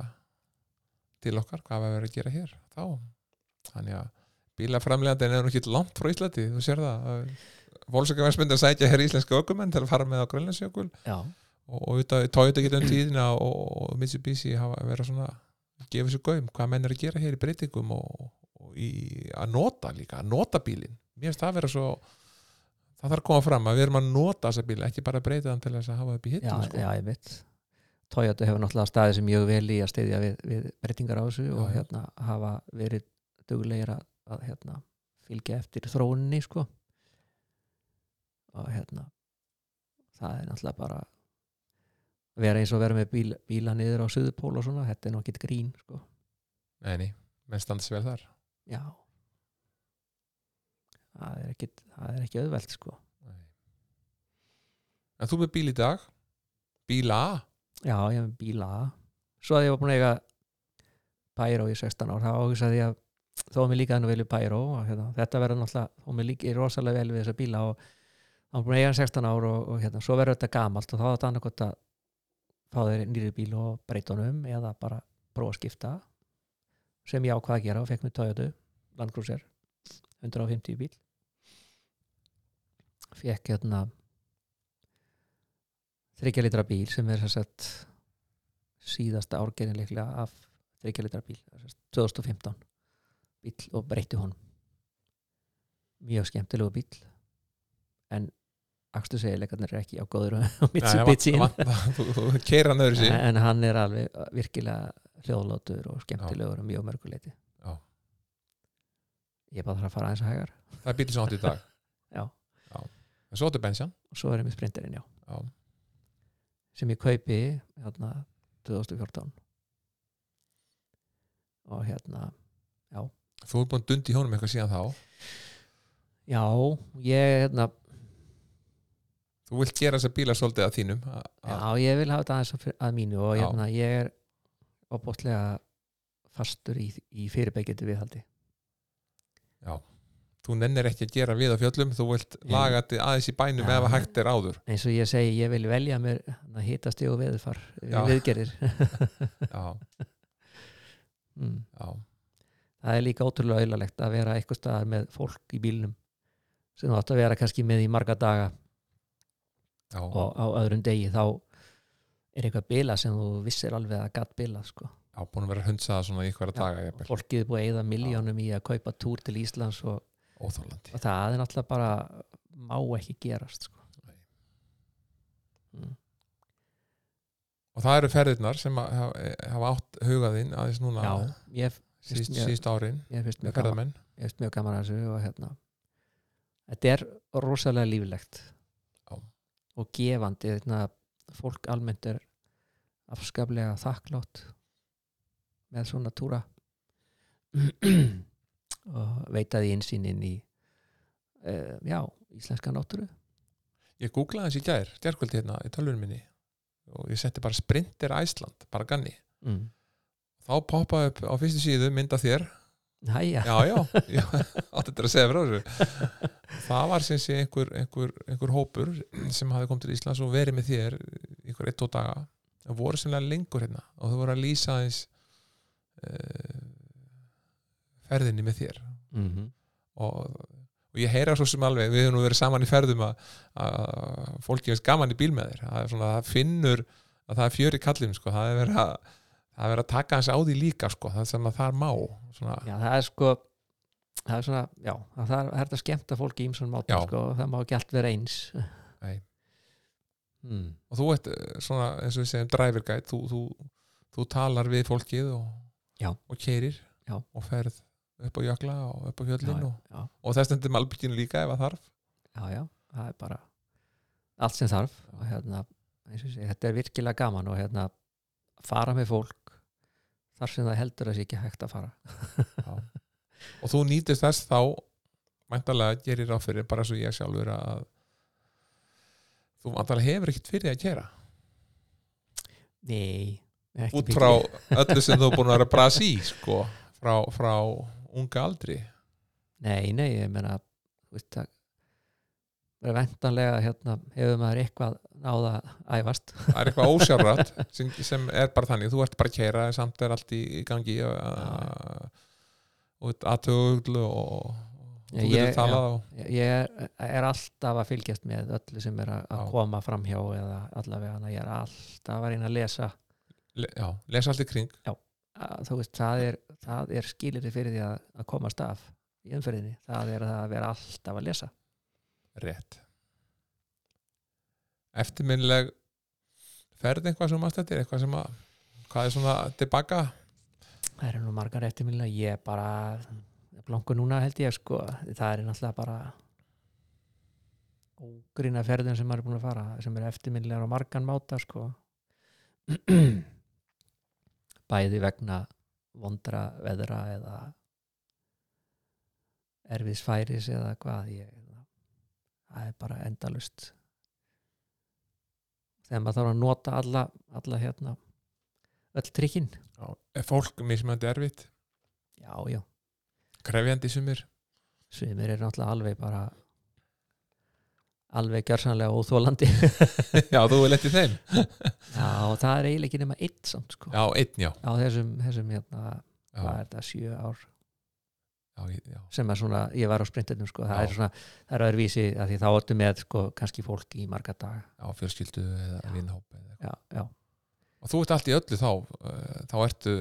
Speaker 1: til okkar, hvað við verið að gera hér þá, þannig að bílaframlegandinn er nú ekki langt frá Íslandi þú sér það, volsakaversmynd að sækja hér íslenska ökumenn til að fara með á Grönlandsjökul
Speaker 2: já,
Speaker 1: og, og auðvitað Toyota getur um tíðina og, og Mitsubishi hafa verið svona gefa sér gaum, hvað menn er að gera hér í breytingum og, og í að nota líka, að nota bílinn mér finnst það vera svo það þarf að koma fram að við erum að nota þessa bíl ekki bara að breyta þann til þess að hafa upp í
Speaker 2: já,
Speaker 1: hittum sko.
Speaker 2: já, ég veit Toyota hefur náttúrulega staðið sem mjög vel í að steyðja við, við breytingar á þessu og
Speaker 1: Já, já.
Speaker 2: hérna hafa verið duglegir að, að hérna, fylgja eftir þróuninni sko og hérna það er náttúrulega bara að vera eins og vera með bíl, bíla niður á suðupól og svona, þetta er nú ekkert grín sko,
Speaker 1: Nei, nei, menn standa sér vel þar
Speaker 2: já það er ekkit það er ekki auðvelt sko
Speaker 1: nei. En þú með bíl í dag Bíla
Speaker 2: Já, ég hef með bíla Svo að ég var búin að eiga Pyró í 16 ár, þá hugsaði ég að þó að mér líka þannig velju Pyró og hérna, þetta verður náttúrulega, þó að mér líka rosalega vel við þessa bíla og þá var búin að eiga hann 16 ár og, og hérna, svo verður þetta gamalt og þá var þetta annarkot að fá þeir nýri bíl og breyta honum eða bara prófa að skipta sem ég ákvað að gera og fekk mér Toyota Land Cruiser 150 bíl fekk hérna þryggja litra bíl sem er þess að síðasta árgerðin líklega af þryggja litra bíl sem sagt 2015 bíl og breytti honum mjög skemmtilegu bíl en Akstu segilegarnir er ekki <laughs> á góður á Mitsubishi
Speaker 1: Nei, vant- vant- <laughs> Þú, þú, þú keira hann öðru sér
Speaker 2: en hann er alveg virkilega hljóðlátur og skemmtilegur og mjög mörguleiti
Speaker 1: Já.
Speaker 2: ég bara þarf að fara aðeins að hægar
Speaker 1: Það er bíl sem átti í dag
Speaker 2: Já.
Speaker 1: En svo átti bensjan
Speaker 2: og svo erum við sprinterinn já
Speaker 1: Já.
Speaker 2: sem ég kaupi hérna 2014 og hérna
Speaker 1: Þú er búin að dundi í honum eitthvað síðan þá
Speaker 2: já, ég hérna
Speaker 1: Þú vilt gera þessa bíla svolítið að þínum a- a-
Speaker 2: Já, ég vil hafa þetta aðeins að fyr- að mínu og
Speaker 1: Já.
Speaker 2: hérna, ég er opbóttlega fastur í, í fyrirbækjandi viðhaldi.
Speaker 1: Þú nennir ekki að gera við á fjöllum Þú vilt laga þetta aðeins í bænum
Speaker 2: Já.
Speaker 1: ef að hægt er áður
Speaker 2: Eins og ég segi, ég vil velja mér hittast ég og veðurfar,
Speaker 1: Já.
Speaker 2: viðgerðir.
Speaker 1: <laughs>
Speaker 2: <laughs>
Speaker 1: Já,
Speaker 2: mm.
Speaker 1: já,
Speaker 2: Það er líka ótrúlega auðlalegt að vera eitthvað staðar með fólk í bílnum sem þú átt að vera kannski með í marga daga
Speaker 1: já,
Speaker 2: og á öðrum degi þá er eitthvað bila sem þú vissir alveg að gatt bila sko.
Speaker 1: já búin að vera hundsaða svona í hverja
Speaker 2: Já,
Speaker 1: daga jafnvel.
Speaker 2: Fólkið er búið að eyða miljónum í að kaupa túr til Íslands og
Speaker 1: Óþólandi
Speaker 2: og það er náttúrulega bara má ekki gerast sko.
Speaker 1: Nei.
Speaker 2: Mm.
Speaker 1: Og það eru ferðirnar sem að hafa hafa átt hugaðinn aðeins núna
Speaker 2: já, ég,
Speaker 1: síst,
Speaker 2: mjög-
Speaker 1: síst árin
Speaker 2: ég finnst
Speaker 1: með
Speaker 2: mjög gaman
Speaker 1: ferðamenn
Speaker 2: ég finnst mjög gaman að þessu og hérna þetta er rosalega líflegt
Speaker 1: Já.
Speaker 2: og gefandi hérna, fólk almennt er afskaplega þakklátt með svona
Speaker 1: <clears throat>
Speaker 2: túra og veitaði einsýnin í uh, já, íslenska náttúru
Speaker 1: Ég googlaði þessi í gær, gærkvöldi hérna í tölvunum minni og ég setti bara Sprinter Æsland, bara ganni
Speaker 2: mm.
Speaker 1: Þá poppaði upp á fyrstu síðu mynd af þér
Speaker 2: hæja,
Speaker 1: Já, já, já <laughs> átti þetta að segja frá þessu Það var sem sé einhver, einhver, einhver hópur sem hafði komið til Íslands og verið með þér einhver eitt og daga og voru semlega lengur hérna og þau voru að lýsa aðeins uh, ferðinni með þér
Speaker 2: mm
Speaker 1: Mhm.
Speaker 2: -hmm.
Speaker 1: og, og ég heyra svo sem alveg við höfum nú verið saman í ferðum að, að fólki veist gaman í bíl með þér það, er svona, það finnur að það er fjöri kallum sko. það er verið að það er verið að taka hans á því líka sko. það sem að það er má svona,
Speaker 2: Já, það er sko það er svona, já, það er, það er að skemmta fólki í ýmsum mátum,
Speaker 1: Já.
Speaker 2: sko, það má ekki allt vera eins
Speaker 1: Nei.
Speaker 2: mm.
Speaker 1: og þú ert eh, svona eins og við segjum driver guide þú, þú, þú talar við fólkið og,
Speaker 2: Já.
Speaker 1: og keirir
Speaker 2: Já.
Speaker 1: og ferð upp á jökla og upp á
Speaker 2: já,
Speaker 1: fjöllin og,
Speaker 2: já,
Speaker 1: og það stendur malbygginu líka ef að þarf
Speaker 2: já, já, það er bara allt sem þarf og hérna, eins og sé, þetta er virkilega gaman og hérna, fara með fólk þar sem það heldur að sé ekki hægt að fara
Speaker 1: og þú nýtist þess þá mæntalega gerir ráð fyrir bara svo ég sjálfur að þú mæntalega hefur ekkert fyrir því að keira
Speaker 2: Nei, ekki
Speaker 1: út
Speaker 2: mikið.
Speaker 1: frá öllu sem þú er búin að vera að brasa í sko, frá, frá unga aldri
Speaker 2: Nei, nei, ég meina þú veist það verður vendanlega hérna, hefur maður eitthvað náða æfast
Speaker 1: það er eitthvað ósjárrat sem, sem er bara þannig, þú ert bara að keira samt er allt í í gangi og og aðtögl og
Speaker 2: Já,
Speaker 1: þú
Speaker 2: ég-
Speaker 1: getur talað og
Speaker 2: ég er, er alltaf að fylgjast með öllu sem er að, að
Speaker 1: Já.
Speaker 2: koma framhjá eða allavega hana, ég er alltaf að reyna að lesa
Speaker 1: le- já, lesa allt í kring
Speaker 2: Að- þú veist, það er, það er skilirði fyrir því að, að komast af í umferðinni, það er það að vera alltaf að lesa
Speaker 1: rétt eftirminnileg ferð eitthvað sem maður stættir eitthvað sem að hvað er svona tilbaka
Speaker 2: það eru nú margar eftirminnilega, ég bara langur núna held ég sko það er náttúrulega bara ógrýna ferðin sem maður er búin að fara sem er eftirminnilegar á margan máta sko <clears throat> bæði vegna vondra veðra eða erfiðsfæris eða hvað ég, það er bara endalust þegar maður þarf að nota alla, alla hérna öll trikkin
Speaker 1: Já, er Eh, fólk mismöndi erfitt
Speaker 2: já, já,
Speaker 1: krefjandi sumir
Speaker 2: sumir er náttúrulega alveg bara alveg
Speaker 1: <laughs>
Speaker 2: gjörsanlega óþólandi
Speaker 1: <laughs> já, þú er lettið þeim
Speaker 2: já, og það er eiginlega ekki nema eitt samt sko,
Speaker 1: já, einn, já,
Speaker 2: á þessum, þessum hérna,
Speaker 1: já,
Speaker 2: hvað er þetta, sjö ár
Speaker 1: já, ég- já.
Speaker 2: sem er svona, ég var á sprintinum sko, það
Speaker 1: Já.
Speaker 2: er svona, það er öðruvísi að því þá áttu með sko, kannski fólk í marga daga
Speaker 1: já fjölskyldu eða
Speaker 2: Já.
Speaker 1: vinnhóp eða. eitthvað.
Speaker 2: já, já,
Speaker 1: og þú ert allt í öllu þá eh, þá ertu,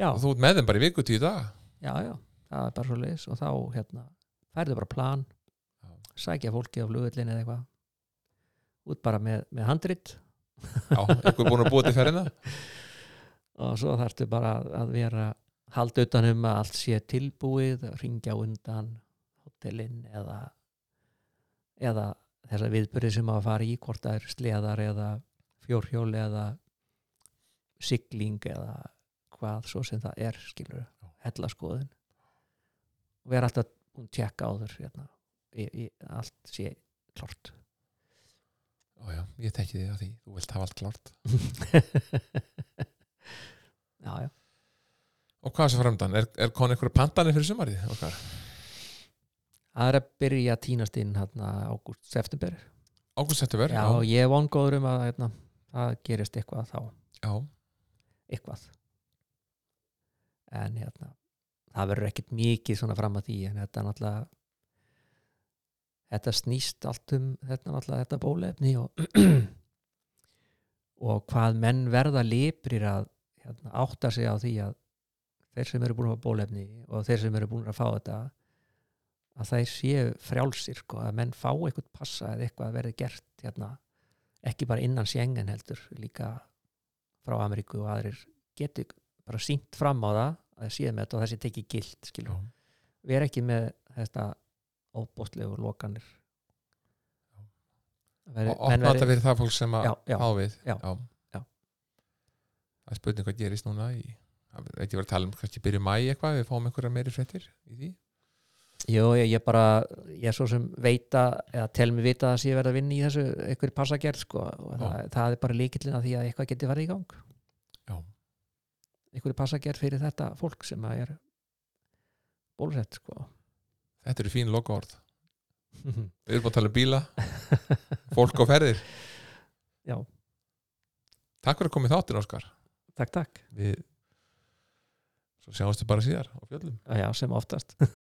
Speaker 2: já,
Speaker 1: þú ert með þeim bara í viku tíu dag
Speaker 2: já, já það er bara svo leis og þá hérna færðu bara plan
Speaker 1: Já.
Speaker 2: sækja fólki á flugullin eða eitthvað út bara með, með handrit <laughs>
Speaker 1: já, einhver búin að búa til ferðina
Speaker 2: og svo þarftu bara að- að vera halda utanum að allt sé tilbúið ringja undan hótelin eða eða þessa viðbyrði sem á að fara í hvort það er sleðar eða fjórhjól eða sigling eða hvað svo sem það er skilur hella skoðun og vera alltaf að tjekka á þur hérna. í, í, allt sé klart
Speaker 1: já, já, ég tekki þig að því, þú vilt hafa allt klart
Speaker 2: <laughs> já já
Speaker 1: og hvað er svo framdann, er, er konið einhverja pandanir fyrir sumarið okkar?
Speaker 2: það er að byrja að tínast inn hérna ágúst september
Speaker 1: Ágúst settu verð
Speaker 2: Já, ég er vongóður um að hérna, það gerist eitthvað þá,
Speaker 1: já,
Speaker 2: eitthvað en hérna það verður ekkert mikið svona fram að því en þetta er náttúrulega þetta snýst allt um þetta er náttúrulega þetta bólefni og, <clears throat> og hvað menn verða liprir að hérna, átta sig á því að þeir sem eru búin að fá bólefni og þeir sem eru búin að fá þetta að þeir séu frjálsir sko, að menn fá eitthvað passa eða eitthvað að verði gert hérna, ekki bara innan sjengen heldur líka frá Ameríku og aðrir geti bara sínt fram á það að þeir séu með þetta og þessi tekið gilt skilur.
Speaker 1: já,
Speaker 2: við erum ekki með þetta óbóstlegu lokanir Veri,
Speaker 1: og opna þetta fyrir það fólk sem að
Speaker 2: já, já,
Speaker 1: á við
Speaker 2: Já. Já.
Speaker 1: það er spurning hvað gerist núna í það er ekki verið að tala um kannski byrju mæ eitthvað við fáum einhverja meiri fréttir í því
Speaker 2: Jú, ég, ég bara, ég svo sem veita eða tel mig vita að það sé verið að vinna í þessu einhverju passagerð sko og það, það er bara líkillin að því að eitthvað geti verið í gang
Speaker 1: Já.
Speaker 2: einhverju passagerð fyrir þetta fólk sem að er bólusett sko
Speaker 1: <laughs> þetta eru fín lokaord við erum bara að tala um
Speaker 2: <laughs>
Speaker 1: bíla, fólk og ferðir
Speaker 2: Já.
Speaker 1: takk fyrir að koma í þáttin Óskar
Speaker 2: Takk, takk
Speaker 1: við svo sjáumstu bara síðar á fjöllum
Speaker 2: Já, sem oftast